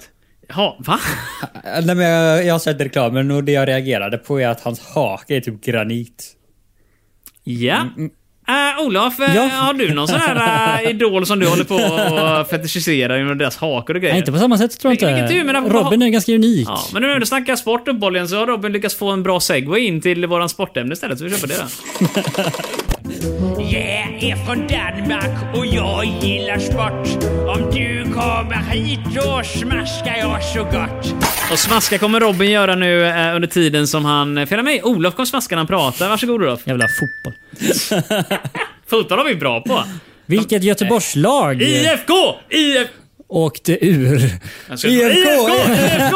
Speaker 1: Ha, va?
Speaker 2: Eh, Nej, men jag, jag har sett reklamen och det jag reagerade på är att hans hake är typ granit.
Speaker 1: Ja.
Speaker 2: Mm,
Speaker 1: Eh, Olof, eh,
Speaker 4: Ja.
Speaker 1: har du någon sån här eh, idol som du håller på och fetischiserar genom deras hakor och grejer?
Speaker 4: Nej, inte på samma sätt tror jag
Speaker 1: Vilken- vilken
Speaker 4: inte.
Speaker 1: tur, men därför-
Speaker 4: Robin är ganska unik.
Speaker 1: Ja, men nu när du snackar sport uppenbarligen så har Robin lyckats få en bra segway in till våran sportämne istället, så vi kör på det då.
Speaker 7: Jag är från Danmark och jag gillar sport. Om du kommer hit då smaskar jag så gott.
Speaker 1: Och smaska kommer Robin göra nu eh, under tiden som han... eh, Fela mig, Olof kom smaska när han pratar. Varsågod Olof.
Speaker 4: Jävla fotboll.
Speaker 1: Fotboll har vi bra på.
Speaker 4: Vilket Göteborgslag
Speaker 1: IFK! IF...
Speaker 4: åkte ur?
Speaker 1: Jag ska- IFK!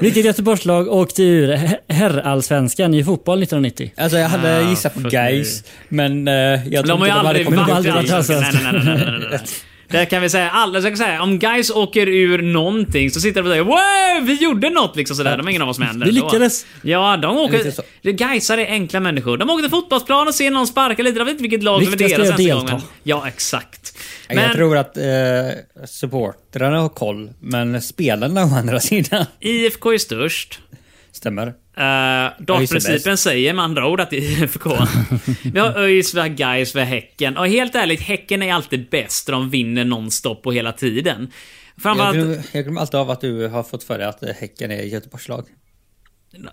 Speaker 4: Vilket Göteborgslag åkte ur her- herrallsvenskan i fotboll 1990?
Speaker 2: Alltså jag hade
Speaker 1: Ah,
Speaker 2: gissat på
Speaker 1: fuck
Speaker 2: guys men eh, jag
Speaker 1: De
Speaker 2: tror
Speaker 1: har ju
Speaker 2: inte de hade
Speaker 1: aldrig
Speaker 2: kommit
Speaker 4: de har
Speaker 1: varit
Speaker 2: upp.
Speaker 1: i
Speaker 4: aldrig varit
Speaker 1: allsvenskan.
Speaker 4: allsvenskan.
Speaker 1: Nej, nej, nej, nej, nej, nej. Där kan vi säga, alla, så kan jag säga, om guys åker ur någonting så sitter de och säger wow, vi gjorde något liksom sådär. De har ingen av oss som händer.
Speaker 4: Vi
Speaker 1: ändå.
Speaker 4: lyckades.
Speaker 1: Ja, de åker...
Speaker 2: Lite så.
Speaker 1: Gaisare är enkla människor. De åker till fotbollsplan och ser någon sparka lite. Jag vet inte vilket lag som är
Speaker 4: Viktigast
Speaker 1: deras
Speaker 4: är att
Speaker 1: nästa gång.
Speaker 4: delta.
Speaker 1: men- Ja, exakt.
Speaker 2: Jag
Speaker 1: Men
Speaker 2: tror att eh, supportrarna har koll men spelarna å andra sidan
Speaker 1: IFK är störst.
Speaker 2: stämmer.
Speaker 1: Uh,
Speaker 2: ÖIS är
Speaker 1: Dartprincipen säger med andra ord att det är IFK. vi har ÖIS, vi har Gais, vi har Häcken. Och helt ärligt, Häcken är alltid bäst. De vinner nonstop och hela tiden.
Speaker 2: Jag
Speaker 1: Framförallt,
Speaker 2: glömmer, jag glömmer alltid av att du har fått för dig att eh, Häcken är Göteborgslag.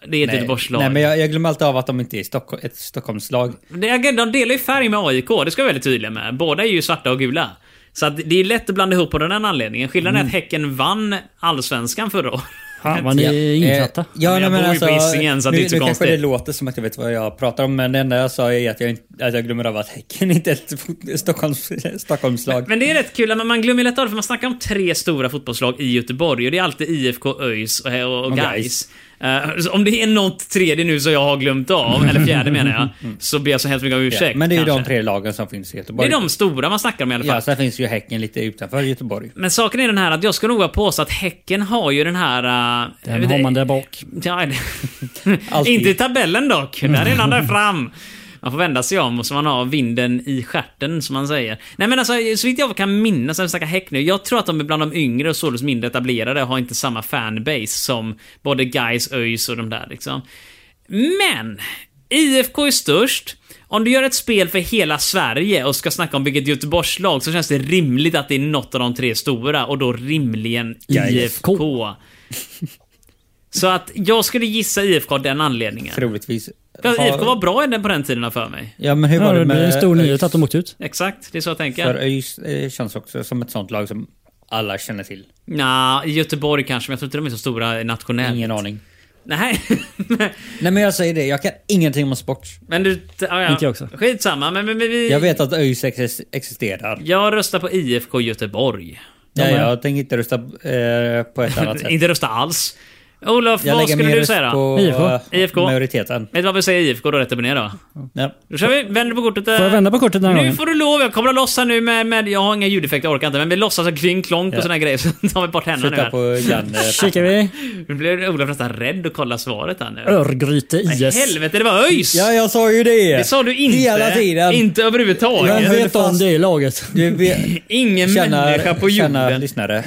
Speaker 1: det är ett
Speaker 2: Nej,
Speaker 1: Göteborgslag.
Speaker 2: Nej, men jag, jag glömmer alltid av att de inte är Stockholm, ett Stockholmslag.
Speaker 1: Det- De delar ju färg med AIK, det ska vi vara väldigt tydliga med. Båda är ju svarta och gula. Så att det är lätt att blanda ihop på den här anledningen. Skillnaden
Speaker 2: Mm.
Speaker 1: är att Häcken vann Allsvenskan förra året.
Speaker 4: Fan vad ni är insatta.
Speaker 2: Eh, ja,
Speaker 1: Men jag
Speaker 2: nej, men
Speaker 1: bor ju
Speaker 2: alltså,
Speaker 1: på Hisingen, så att det är
Speaker 2: nu,
Speaker 1: inte så
Speaker 2: nu kanske det
Speaker 1: konstigt.
Speaker 2: låter som att jag vet vad jag pratar om, men det enda jag sa är att jag, inte- att jag glömmer av att Häcken inte är ett fot- Stockholms, Stockholmslag.
Speaker 1: Men det är rätt kul, men man glömmer lätt av det för man snackar om tre stora fotbollslag i Göteborg och det är alltid IFK, ÖIS och, och, och
Speaker 2: Och
Speaker 1: Gais.
Speaker 2: Gais.
Speaker 1: Eh, så om det är något tredje nu som jag har glömt av, eller fjärde menar jag, så ber jag så hemskt mycket om ursäkt.
Speaker 2: Mm. ja, men det är ju
Speaker 1: kanske.
Speaker 2: de tre lagen som finns
Speaker 1: Det
Speaker 2: i Göteborg.
Speaker 1: är de stora man snackar om i alla fall.
Speaker 2: Ja, sen finns ju Häcken lite utanför Göteborg.
Speaker 1: Men saken är den här att jag skulle nog vilja påstå att Häcken har ju den här... eh, jag
Speaker 4: Den
Speaker 1: vet
Speaker 4: har
Speaker 1: inte-
Speaker 4: man där bak.
Speaker 1: Ja, det-
Speaker 2: Alltid.
Speaker 1: inte i tabellen dock. Där är den där fram. Man får vända sig om och så man har vinden i stjärten som man säger. Nej men alltså, så vitt jag kan minnas, när vi snackar häck nu, jag tror att de är bland de yngre och således mindre etablerade och har inte samma fanbase som både Guys, ÖIS och de där liksom. Men! IFK är störst. Om du gör ett spel för hela Sverige och ska snacka om vilket Göteborgslag så känns det rimligt att det är något av de tre stora och då rimligen
Speaker 2: Gais.
Speaker 1: IFK. Så att jag skulle gissa IFK av den anledningen.
Speaker 2: Troligtvis.
Speaker 1: Ja,
Speaker 2: Har-
Speaker 1: IFK var bra i den på den tiden har jag för mig.
Speaker 2: Ja men hur
Speaker 4: Ja,
Speaker 2: var
Speaker 4: det
Speaker 2: det
Speaker 4: blir
Speaker 2: med...
Speaker 4: en stor
Speaker 2: ÖIS?
Speaker 4: nyhet att de åkte ut.
Speaker 1: Exakt, det är så jag tänker.
Speaker 2: För ÖIS eh, känns också som ett sånt lag som alla känner till.
Speaker 1: Nja, i Göteborg kanske, men jag tror inte de är så stora nationellt.
Speaker 2: Ingen aning.
Speaker 1: Nej.
Speaker 2: Nej men jag säger det, jag kan ingenting om sport.
Speaker 1: men du... Ja, ja.
Speaker 4: Inte jag också.
Speaker 1: Skitsamma, men, men, men vi...
Speaker 2: Jag vet att ÖIS ex- existerar.
Speaker 1: Jag röstar på IFK Göteborg.
Speaker 2: Ja,
Speaker 4: med.
Speaker 2: jag tänker inte rösta eh, på ett annat sätt.
Speaker 1: Inte rösta alls. Olof,
Speaker 2: Jag
Speaker 1: vad
Speaker 2: lägger
Speaker 1: skulle
Speaker 2: min
Speaker 1: du
Speaker 2: röst
Speaker 1: säga då?
Speaker 2: på
Speaker 4: IFK.
Speaker 2: eh,
Speaker 1: IFK.
Speaker 2: majoriteten.
Speaker 1: Vet du vad vi säger IFK då, rätt upp och ner då?
Speaker 2: Ja.
Speaker 1: Då kör vi, vänder på kortet. eh.
Speaker 4: Får jag vända på kortet den här
Speaker 1: Nu
Speaker 4: gången?
Speaker 1: får du lov, jag kommer att lossa nu med, med jag har inga ljudeffekter, jag orkar inte. Men vi låtsas att kling klonk
Speaker 2: Ja.
Speaker 1: och såna här grejer, så tar vi bort händerna nu.
Speaker 2: Sluta
Speaker 1: Här.
Speaker 2: på Jan. eh,
Speaker 4: Kikar vi.
Speaker 1: Nu blir Olof nästan rädd och kollar svaret här nu.
Speaker 4: Örgryte
Speaker 1: Nej,
Speaker 4: IS.
Speaker 1: Helvete, det var ÖIS!
Speaker 2: Ja, jag sa ju det!
Speaker 1: Det sa du inte.
Speaker 2: Hela tiden.
Speaker 1: Inte
Speaker 4: Vem
Speaker 1: överhuvudtaget.
Speaker 2: höll
Speaker 4: vet om
Speaker 2: fast.
Speaker 4: det laget?
Speaker 2: Du vet,
Speaker 1: Ingen människa på
Speaker 2: Kära
Speaker 1: jorden.
Speaker 2: lyssnare.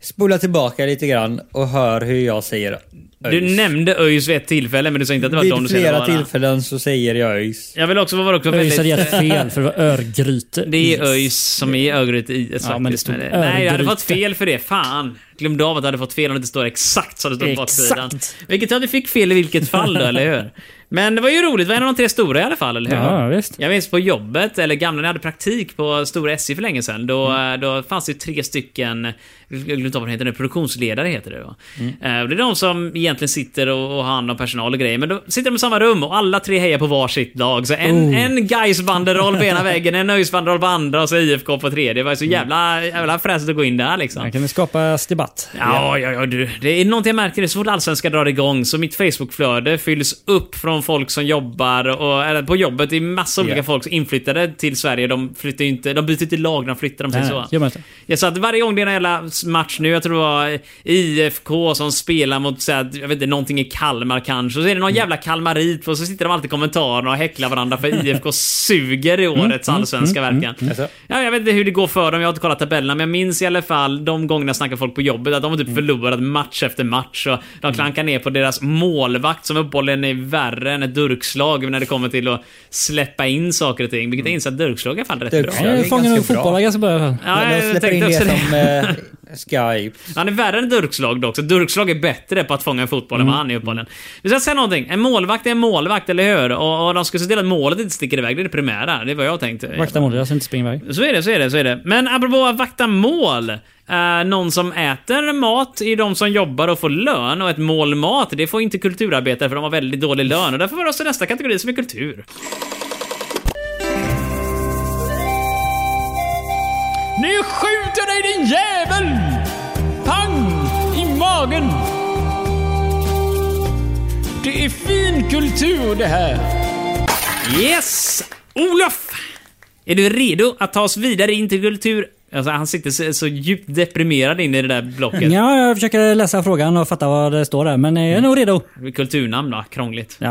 Speaker 2: Spola tillbaka lite grann och hör hur jag säger
Speaker 1: Du nämnde ÖIS vid ett tillfälle, men du sa inte att det var de
Speaker 2: Vid
Speaker 1: du skulle
Speaker 2: flera
Speaker 1: vara.
Speaker 2: tillfällen så säger jag ÖIS.
Speaker 1: Jag vill också vara också
Speaker 4: ÖIS hade gett
Speaker 1: väldigt... eh,
Speaker 4: fel för det var Örgryte
Speaker 1: Det är
Speaker 4: IS.
Speaker 1: ÖIS som är Örgryte IS
Speaker 4: Ja,
Speaker 1: faktiskt.
Speaker 4: men det stod
Speaker 1: Men det- Nej, jag hade
Speaker 4: Örgryte.
Speaker 1: fått fel för det. Fan. Glömde av att jag hade fått fel om det inte står exakt som det står på baksidan.
Speaker 4: Exakt.
Speaker 1: Vilket jag fick fel i vilket fall då, eller hur? Men det var ju roligt. Det var en av de tre stora i alla fall, eller hur?
Speaker 4: Ja, visst.
Speaker 1: Jag minns på jobbet, eller gamla när jag hade praktik på Stora SJ för länge sedan. Då, eh, då fanns det ju tre stycken, jag glömde inte vad de heter nu, produktionsledare heter det va? Eh, och Det är de som egentligen sitter och, och har hand om personal och grejer. Men då sitter de i samma rum och alla tre hejar på varsitt lag. Så en, en guys banderoll på ena väggen, en ÖIS banderoll på andra och så IFK på tredje. Det var ju så jävla, jävla fräsigt att gå in där liksom.
Speaker 4: Här kan vi skapa debatt.
Speaker 1: Ja, ja, ja du. Det är någonting jag märker nu. Så fort Allsvenskan drar igång så mitt Facebookflöde fylls upp från folk som jobbar och, eller på jobbet. Det är massa olika
Speaker 2: Ja.
Speaker 1: folk som inflyttade till Sverige. De flyttar ju inte, de byter inte lag när de flyttar, de säger
Speaker 4: Nej,
Speaker 1: så.
Speaker 4: gör man inte.
Speaker 1: Jag sa att varje gång det är en jävla match nu, jag tror det var IFK som spelar mot, så här, jag vet inte, någonting i Kalmar kanske. Och så är det
Speaker 2: Mm.
Speaker 1: någon jävla kalmarit på, och så sitter de alltid i kommentarerna och häcklar varandra för IFK suger
Speaker 2: Mm.
Speaker 1: i årets allsvenska verkligen.
Speaker 2: Alltså.
Speaker 1: Ja, jag vet inte hur det går för dem, jag har inte kollat tabellerna, men jag minns i alla fall de gångerna jag snackar folk på jobbet att de
Speaker 2: Mm.
Speaker 1: har typ förlorat match efter match och de klankar ner på deras målvakt som uppehålligen är värre än ett durkslag när det kommer till att släppa in saker och ting. Vilket jag inser att durkslag är i alla fall rätt
Speaker 2: Mm. Durkslag.
Speaker 1: bra.
Speaker 2: Ja, det är
Speaker 4: Nu fångar nog
Speaker 2: ganska bra.
Speaker 4: fotbollar ganska bra i alla fall.
Speaker 1: Ja,
Speaker 2: Men
Speaker 1: jag
Speaker 2: de släpper
Speaker 1: tänkte
Speaker 2: in det
Speaker 1: också
Speaker 2: som eh, Skype.
Speaker 1: Han är värre än Durkslag dock, så Durkslag är bättre på att fånga en fotboll
Speaker 4: Mm.
Speaker 1: än vad han är i fotbollen. Vi ska säga någonting. En målvakt är en målvakt, eller hur? Och, och de ska se till att målet inte sticker iväg. Det är det primära. Det är vad jag tänkte.
Speaker 4: Vakta målet, jag ska inte springa iväg.
Speaker 1: Så är det, så är det, så är det. Men apropå att vakta mål. Eh, någon som äter mat är de som jobbar och får lön och ett mål mat, det får inte kulturarbetare för de har väldigt dålig lön. Och därför var det också nästa kategori som är kultur.
Speaker 7: Nu skjuter dig din jävel! Pang! I magen! Det är fin kultur det här.
Speaker 1: Yes! Olof! Är du redo att ta oss vidare in till kultur? Alltså, han sitter så, så djupt deprimerad in i det där blocket.
Speaker 4: Ja, jag försöker läsa frågan och fatta vad det står där, men jag är nog redo.
Speaker 1: Kulturnamn då, krångligt.
Speaker 4: Ja.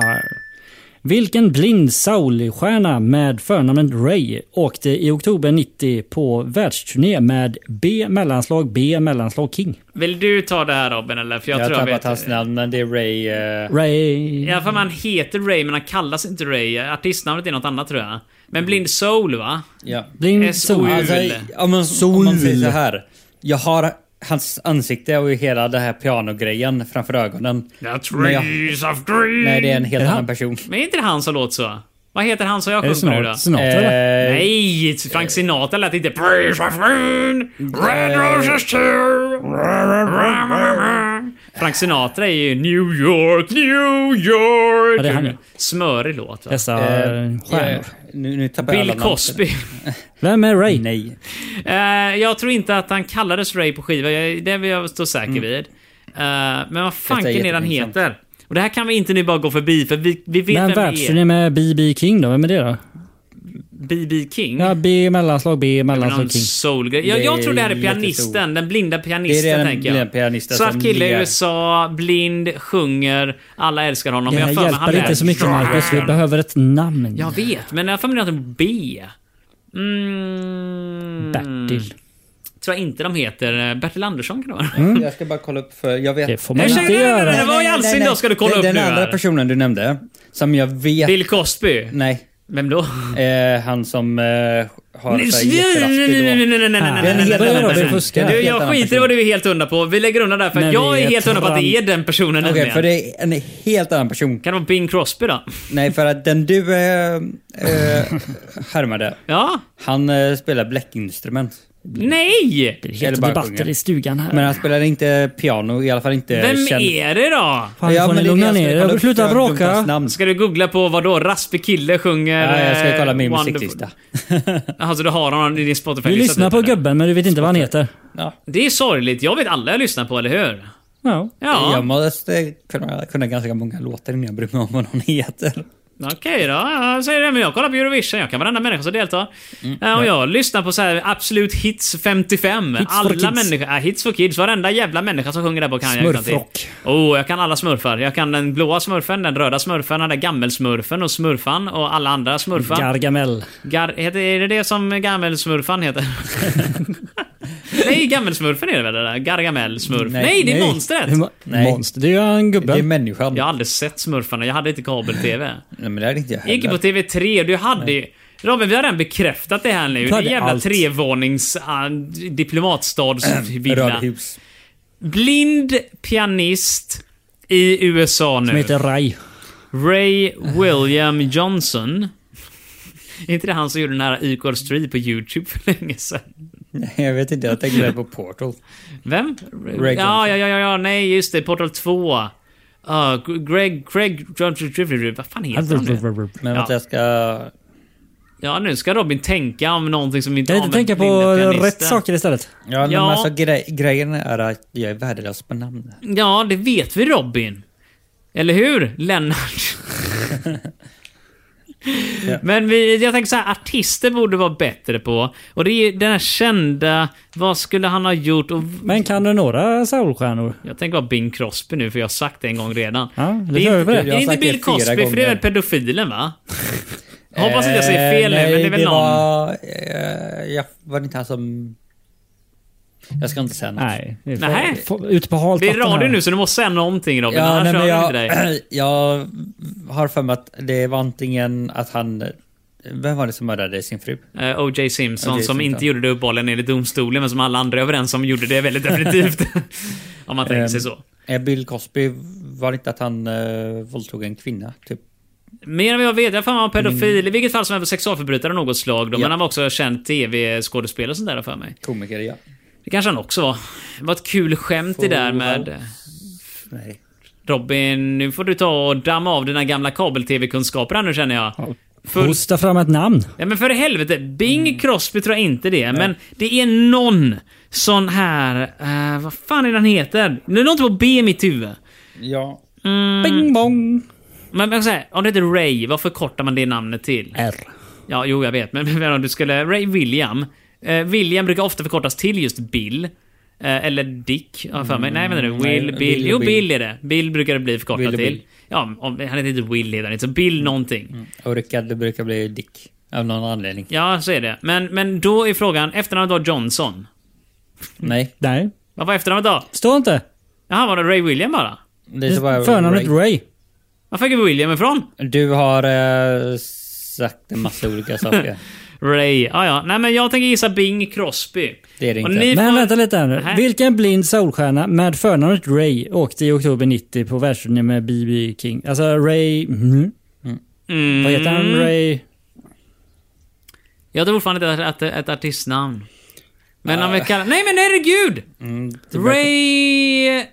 Speaker 4: Vilken blind soulstjärna med förnamnet Ray åkte i oktober 90 på världsturné med B mellanslag B mellanslag King?
Speaker 1: Vill du ta det här Robin eller? För jag,
Speaker 2: Jag har
Speaker 1: tror jag
Speaker 2: tappat
Speaker 1: vet.
Speaker 2: hans namn men det är Ray... eh,
Speaker 4: Ray...
Speaker 1: Ja, för man heter Ray men han kallas inte Ray. Artistnamnet är något annat tror jag. Men Blind Soul va?
Speaker 2: ja.
Speaker 4: Blind
Speaker 1: S.O.U..
Speaker 4: soul.
Speaker 2: Alltså,
Speaker 1: Jul.
Speaker 2: om, man, om man säger så här. Jag har hans ansikte och hela den här pianogrejen framför ögonen. Men jag-
Speaker 1: of green.
Speaker 2: Nej, det är en helt
Speaker 4: Är det
Speaker 2: annan
Speaker 4: han?
Speaker 2: person.
Speaker 1: Men är inte det han som låter så? Vad heter han som jag
Speaker 4: Är det
Speaker 1: sjunger nu då?
Speaker 4: Alltså, snart, snart
Speaker 2: Eh,
Speaker 4: eller?
Speaker 1: Nej, Frank Sinatra lät inte... Trees of green, red roses too. Frank Sinatra är ju New York, New York.
Speaker 4: Ja, det är han ju.
Speaker 1: Smörig låt va?
Speaker 4: Dessa
Speaker 2: eh,
Speaker 4: stjärnor.
Speaker 2: eh, nu, nu tappar jag alla
Speaker 1: Bill
Speaker 2: namn.
Speaker 1: Cosby.
Speaker 4: Vem är Ray?
Speaker 2: Nej.
Speaker 1: Eh, jag tror inte att han kallades Ray på skiva, jag, det vill jag stå säker vid. Eh, men vad
Speaker 2: Detta är
Speaker 1: fanken är det han
Speaker 2: jättepinsamt.
Speaker 1: heter? Och det här kan vi inte nu bara gå förbi, för vi, vi vet
Speaker 4: Men
Speaker 1: vem det
Speaker 4: världsturné
Speaker 1: är.
Speaker 4: med BB King då? Vem är det då?
Speaker 1: BB King?
Speaker 4: Ja, B, mellanslag B,
Speaker 1: Någon
Speaker 4: mellanslag King.
Speaker 1: soulgrej. Jag,
Speaker 2: Det
Speaker 1: jag tror det här är
Speaker 2: är jättestor.
Speaker 1: pianisten, den blinda
Speaker 2: Det är
Speaker 1: pianisten
Speaker 2: den
Speaker 1: tänker jag.
Speaker 2: blinda pianisten
Speaker 1: Svart
Speaker 2: som
Speaker 1: kille i
Speaker 2: ler.
Speaker 1: USA, blind, sjunger, alla älskar honom.
Speaker 4: Det
Speaker 1: Men
Speaker 4: här
Speaker 1: jag har för mig han
Speaker 4: hjälper
Speaker 1: är-
Speaker 4: inte så mycket Marcus, vi behöver ett namn.
Speaker 1: Jag vet, men jag har för mig att det är B. Mm,
Speaker 4: Bertil.
Speaker 1: tror jag inte de heter. Eh, Bertil Andersson kan det vara.
Speaker 2: Jag ska bara kolla upp för jag vet...
Speaker 4: Det får man
Speaker 1: Ursäkta,
Speaker 4: inte
Speaker 1: nej, nej, nej,
Speaker 4: göra.
Speaker 1: nej, vad i all sin dar ska du kolla
Speaker 2: den,
Speaker 1: upp
Speaker 2: Den
Speaker 1: nu
Speaker 2: andra
Speaker 1: här?
Speaker 2: personen du nämnde, som jag vet...
Speaker 1: Bill Cosby.
Speaker 2: Nej.
Speaker 1: Vem då?
Speaker 2: Eh, han som eh, har
Speaker 1: Nej,
Speaker 2: så här
Speaker 1: nej, nej, nej,
Speaker 2: jätterastig
Speaker 1: nej, nej, nej, nej,
Speaker 4: Ah.
Speaker 1: nej, nej,
Speaker 4: Börja
Speaker 1: nej,
Speaker 4: då,
Speaker 1: nej,
Speaker 4: vi
Speaker 1: nej.
Speaker 4: fuskar.
Speaker 1: Du,
Speaker 2: Helt
Speaker 1: jag
Speaker 2: annan
Speaker 1: skiter i
Speaker 2: person.
Speaker 1: vad du är helt hundra på. Vi lägger undan där för
Speaker 4: Nej,
Speaker 1: att jag
Speaker 4: vi
Speaker 1: är
Speaker 4: är
Speaker 1: helt hundra på att det är den personen
Speaker 2: då. Okej,
Speaker 1: nämligen.
Speaker 2: för det är en helt annan person.
Speaker 1: Kan det vara Bing Crosby då?
Speaker 2: Nej, för att den du eh, eh, härmade,
Speaker 1: Ja?
Speaker 2: han eh, spelar bläckinstrument.
Speaker 1: Nej!
Speaker 4: Det
Speaker 2: Eller
Speaker 4: heter
Speaker 2: bara
Speaker 4: debatter
Speaker 2: sjunga.
Speaker 4: i stugan här.
Speaker 2: Men han spelar inte piano, i alla fall inte
Speaker 1: Vem
Speaker 2: känd.
Speaker 1: är det då?
Speaker 4: Fan, får ni
Speaker 2: det är
Speaker 4: lugna
Speaker 2: det
Speaker 4: ner
Speaker 2: ska
Speaker 4: er?
Speaker 2: kolla upp.
Speaker 4: Sluta
Speaker 2: Jag har glömt
Speaker 4: bråka.
Speaker 2: hans namn.
Speaker 1: Ska du googla på vad då? Raspig kille sjunger...
Speaker 2: Ja, jag ska
Speaker 1: eh,
Speaker 2: kolla min
Speaker 1: Wonderful-
Speaker 2: musiklista.
Speaker 1: Jaha, så du har honom i din Spotify?
Speaker 4: Du lyssnar på gubben men du vet inte vad han heter.
Speaker 2: Ja.
Speaker 1: Det är sorgligt. Jag vet alla jag lyssnar på, eller hur?
Speaker 4: Ja.
Speaker 1: Ja,
Speaker 2: Jag måste kunna, kunna ganska många låtar innan jag bryr mig om vad någon heter.
Speaker 1: okej då. Jag säger det, men jag kollar på Eurovision. Jag kan varenda människa som deltar. Eh, och jag lyssnar på så här Absolut Hits 55.
Speaker 4: Hits for
Speaker 1: alla
Speaker 4: kids.
Speaker 1: människor... Äh, hits for kids. Varenda jävla människa som sjunger där på kan jag utan till.
Speaker 4: Smurfrock.
Speaker 1: Oh, jag kan alla smurfar. Jag kan den blåa smurfen, den röda smurfen, den där gammelsmurfen och smurfan och alla andra smurfar.
Speaker 4: Gargamel.
Speaker 1: Gar heter, är det det som gammelsmurfan heter? nej, gammelsmurfen är det väl det där? Gargamel-smurf. Nej,
Speaker 2: Nej,
Speaker 1: det är
Speaker 2: nej.
Speaker 1: monstret!
Speaker 4: Mo-
Speaker 2: Nej.
Speaker 4: Monster. Det är ju en gubbe.
Speaker 2: Det är människan.
Speaker 1: Jag har aldrig sett smurfarna, jag hade inte kabel-tv.
Speaker 2: Nej, men det är inte jag
Speaker 1: Jag gick ju på
Speaker 2: heller.
Speaker 1: TV3 du hade ju... Robin, vi har redan bekräftat det här nu.
Speaker 4: Du
Speaker 1: Det är
Speaker 4: hade
Speaker 1: jävla
Speaker 4: allt.
Speaker 1: trevånings... ah, diplomatstadsvilla.
Speaker 2: Rödhus.
Speaker 1: Blind pianist i USA nu.
Speaker 4: Som heter Rai.
Speaker 1: Ray William Johnson. Är inte det han som gjorde den här Equal Street på YouTube för länge sedan?
Speaker 2: Nej, jag vet inte. Jag tänkte mer på Portal.
Speaker 1: Vem?
Speaker 2: Ray
Speaker 1: ja, ja, ja, ja, ja, nej, just det. Portal 2. Uh, Greg, Greg, vad fan heter han nu? Ja.
Speaker 2: Men vänta, jag ska...
Speaker 1: Ja, nu ska Robin tänka om någonting som inte
Speaker 4: Kan jag inte tänka på rätt saker istället?
Speaker 2: Ja, men
Speaker 1: Ja.
Speaker 2: Alltså, gre grejen är att jag är värdelös på namn.
Speaker 1: Ja, det vet vi Robin. Eller hur, Lennart? Men vi, jag tänker så här, artister borde vara bättre på. Och det är den här kända, vad skulle han ha gjort? Och
Speaker 4: Men kan du några soulstjärnor?
Speaker 1: Jag tänker vara Bing Crosby nu, för jag har sagt det en gång redan.
Speaker 4: Ja, det
Speaker 1: är
Speaker 4: kör vi
Speaker 1: inte,
Speaker 4: på det.
Speaker 1: det
Speaker 2: Jag
Speaker 1: är
Speaker 2: har
Speaker 1: inte
Speaker 2: sagt det
Speaker 1: Bill
Speaker 2: fyra
Speaker 1: Cosby, för det är
Speaker 2: gånger.
Speaker 1: väl pedofilen va? Hoppas inte jag säger fel nu,
Speaker 2: Eh,
Speaker 1: men det är väl någon.
Speaker 2: Var, eh, jag var det inte han som... Jag ska inte säga något.
Speaker 4: Nej. det är för-
Speaker 1: Nähä.
Speaker 4: för- Ute på halt
Speaker 1: Det är
Speaker 4: vatten
Speaker 1: radio
Speaker 4: här.
Speaker 1: nu, så du måste säga någonting Robin,
Speaker 2: Ja,
Speaker 1: annars
Speaker 2: nej,
Speaker 1: hör
Speaker 2: men
Speaker 1: vi inte dig.
Speaker 2: jag, jag har för mig att det var antingen att han... Vem var det som mördade sin fru?
Speaker 1: Eh, O.J. Simpson,
Speaker 2: O.J.
Speaker 1: som inte
Speaker 2: Simpson.
Speaker 1: gjorde det uppenbarligen enligt domstolen, men som alla andra är överens om gjorde det väldigt definitivt.
Speaker 2: Mm.
Speaker 1: Om man tänker sig
Speaker 2: Ehm.
Speaker 1: så.
Speaker 2: Eh, Bill Cosby, var det inte att han eh, våldtog en kvinna? Typ.
Speaker 1: Mer än vad jag vet, jag har för mig han var pedofil. I vilket fall som helst sexualförbrytare av något slag då,
Speaker 2: Mm. Ja.
Speaker 1: men han var också känd TV-skådespelare och sånt där för mig.
Speaker 2: Komiker, ja.
Speaker 1: Det kanske han också var. Det var ett kul skämt det där med...
Speaker 2: Nej.
Speaker 1: Robin, nu får du ta och damma av dina gamla kabel-tv-kunskaper här nu känner jag. För,
Speaker 4: Hosta fram ett namn.
Speaker 1: ja, men för helvete, Bing
Speaker 2: Mm.
Speaker 1: Crosby tror jag inte det är, men det är någon sån här... eh, vad fan är den heter? Nu är det något på B i mitt huvud.
Speaker 2: Ja.
Speaker 1: Mm.
Speaker 4: Bing bong.
Speaker 1: Men, men så här, om det heter Ray, vad förkortar man det namnet till?
Speaker 4: R.
Speaker 1: Ja, jo jag vet, men men om du skulle... Ray William. Eh, William brukar ofta förkortas till just Bill. Eh, eller Dick, har jag för mig. Nej, vänta nu.
Speaker 2: Mm, nej,
Speaker 1: Will,
Speaker 2: Bill
Speaker 1: Bill.
Speaker 2: och
Speaker 1: Jo,
Speaker 2: Bill.
Speaker 1: Bill är det. Bill brukar det bli förkortat
Speaker 2: Bill och
Speaker 1: till.
Speaker 2: Bill. Mm.
Speaker 1: Ja, om, han heter inte Will heter han inte, så Bill någonting.
Speaker 2: Och Rickard det brukar bli Dick. Av någon anledning.
Speaker 1: Ja, så är det. Men, men då är frågan, efternamnet var Johnson.
Speaker 2: Nej.
Speaker 4: Nej.
Speaker 1: Vad var efternamnet då?
Speaker 4: Står inte.
Speaker 1: Jaha, var det Ray William bara?
Speaker 2: Det är bara
Speaker 4: Förnamnet
Speaker 2: Ray.
Speaker 4: Ray.
Speaker 1: Var fick William ifrån?
Speaker 2: Du har eh, sagt en massa olika saker.
Speaker 1: Ray. Ah, ja. Nej, men jag tänker gissa Bing Crosby.
Speaker 2: Det är det
Speaker 1: Och
Speaker 2: inte.
Speaker 1: ni
Speaker 4: Men
Speaker 1: får-
Speaker 4: vänta lite här nu.
Speaker 1: Nähä.
Speaker 4: Vilken blind soulstjärna med förnamnet Ray åkte i oktober 90 på världsturné med B.B. King? Alltså Ray... mhm.
Speaker 1: Mm.
Speaker 4: Vad heter han? Ray...
Speaker 1: Jag tror fortfarande att det är ett, ett, ett artistnamn. Men om vi kallar... Nej men herregud! Ray...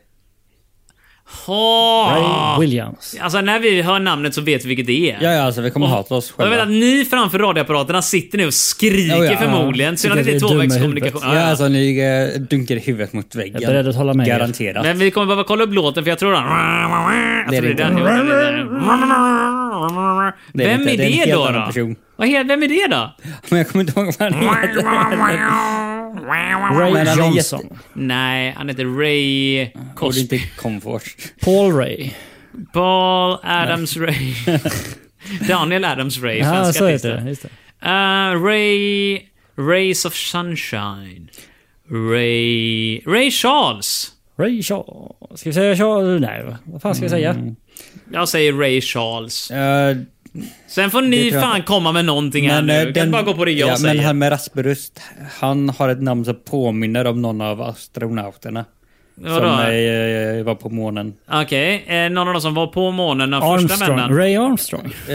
Speaker 1: Ha.
Speaker 4: Ray Williams.
Speaker 1: Alltså när vi hör namnet så vet vi vilket det är.
Speaker 2: Ja, ja, alltså vi kommer hata oss
Speaker 1: Och jag vet att
Speaker 2: själva.
Speaker 1: ni framför radioapparaterna sitter nu och skriker
Speaker 2: Oh, ja.
Speaker 1: förmodligen. Synd att det
Speaker 4: Vilket
Speaker 1: inte är
Speaker 4: är dumma i
Speaker 1: tvåvägskommunikation.
Speaker 2: Ja, alltså ni eh, dunkar huvudet mot väggen.
Speaker 4: Jag är beredd att hålla med er.
Speaker 2: Garanterat.
Speaker 1: Men vi kommer behöva kolla upp låten för jag tror att... Alltså,
Speaker 2: Det är
Speaker 1: det är
Speaker 2: inte.
Speaker 1: den.
Speaker 2: Det är
Speaker 1: Vem
Speaker 2: inte-
Speaker 1: är
Speaker 2: det är en
Speaker 1: det,
Speaker 2: helt
Speaker 1: då?
Speaker 2: annan
Speaker 1: då?
Speaker 2: person.
Speaker 1: Vad he- Vem är det då?
Speaker 2: Men jag kommer inte ihåg vad han heter. Men
Speaker 4: Ray
Speaker 1: alltså,
Speaker 2: han är
Speaker 4: Johnson.
Speaker 1: Nej, han heter Ray
Speaker 2: Borde
Speaker 1: Cosby.
Speaker 2: inte Comfort.
Speaker 4: Paul Ray.
Speaker 1: Paul Adams Ray. Daniel Adams Ray,
Speaker 4: Ja,
Speaker 1: svenska
Speaker 4: så heter
Speaker 1: artister.
Speaker 4: det. Just det.
Speaker 1: Eh, Ray... Rays of Sunshine. Ray... Ray Charles.
Speaker 4: Ray Shaw. Ska vi säga Shaw? Nej, vad fan ska jag säga?
Speaker 1: Mm. Jag säger Ray Charles.
Speaker 2: Eh,
Speaker 1: Sen får ni
Speaker 2: tror jag.
Speaker 1: fan komma med någonting här
Speaker 2: Men,
Speaker 1: nu.
Speaker 2: eh,
Speaker 1: Den, kan bara gå på det jag
Speaker 2: ja,
Speaker 1: säger.
Speaker 2: Men han med Rasperust, han har ett namn som påminner om någon av astronauterna.
Speaker 1: Vadå?
Speaker 2: Som eh, var på månen.
Speaker 1: Okej, eh, någon av dem som var på månen den första
Speaker 4: Armstrong.
Speaker 1: männen.
Speaker 4: Ray Armstrong.
Speaker 2: Eh,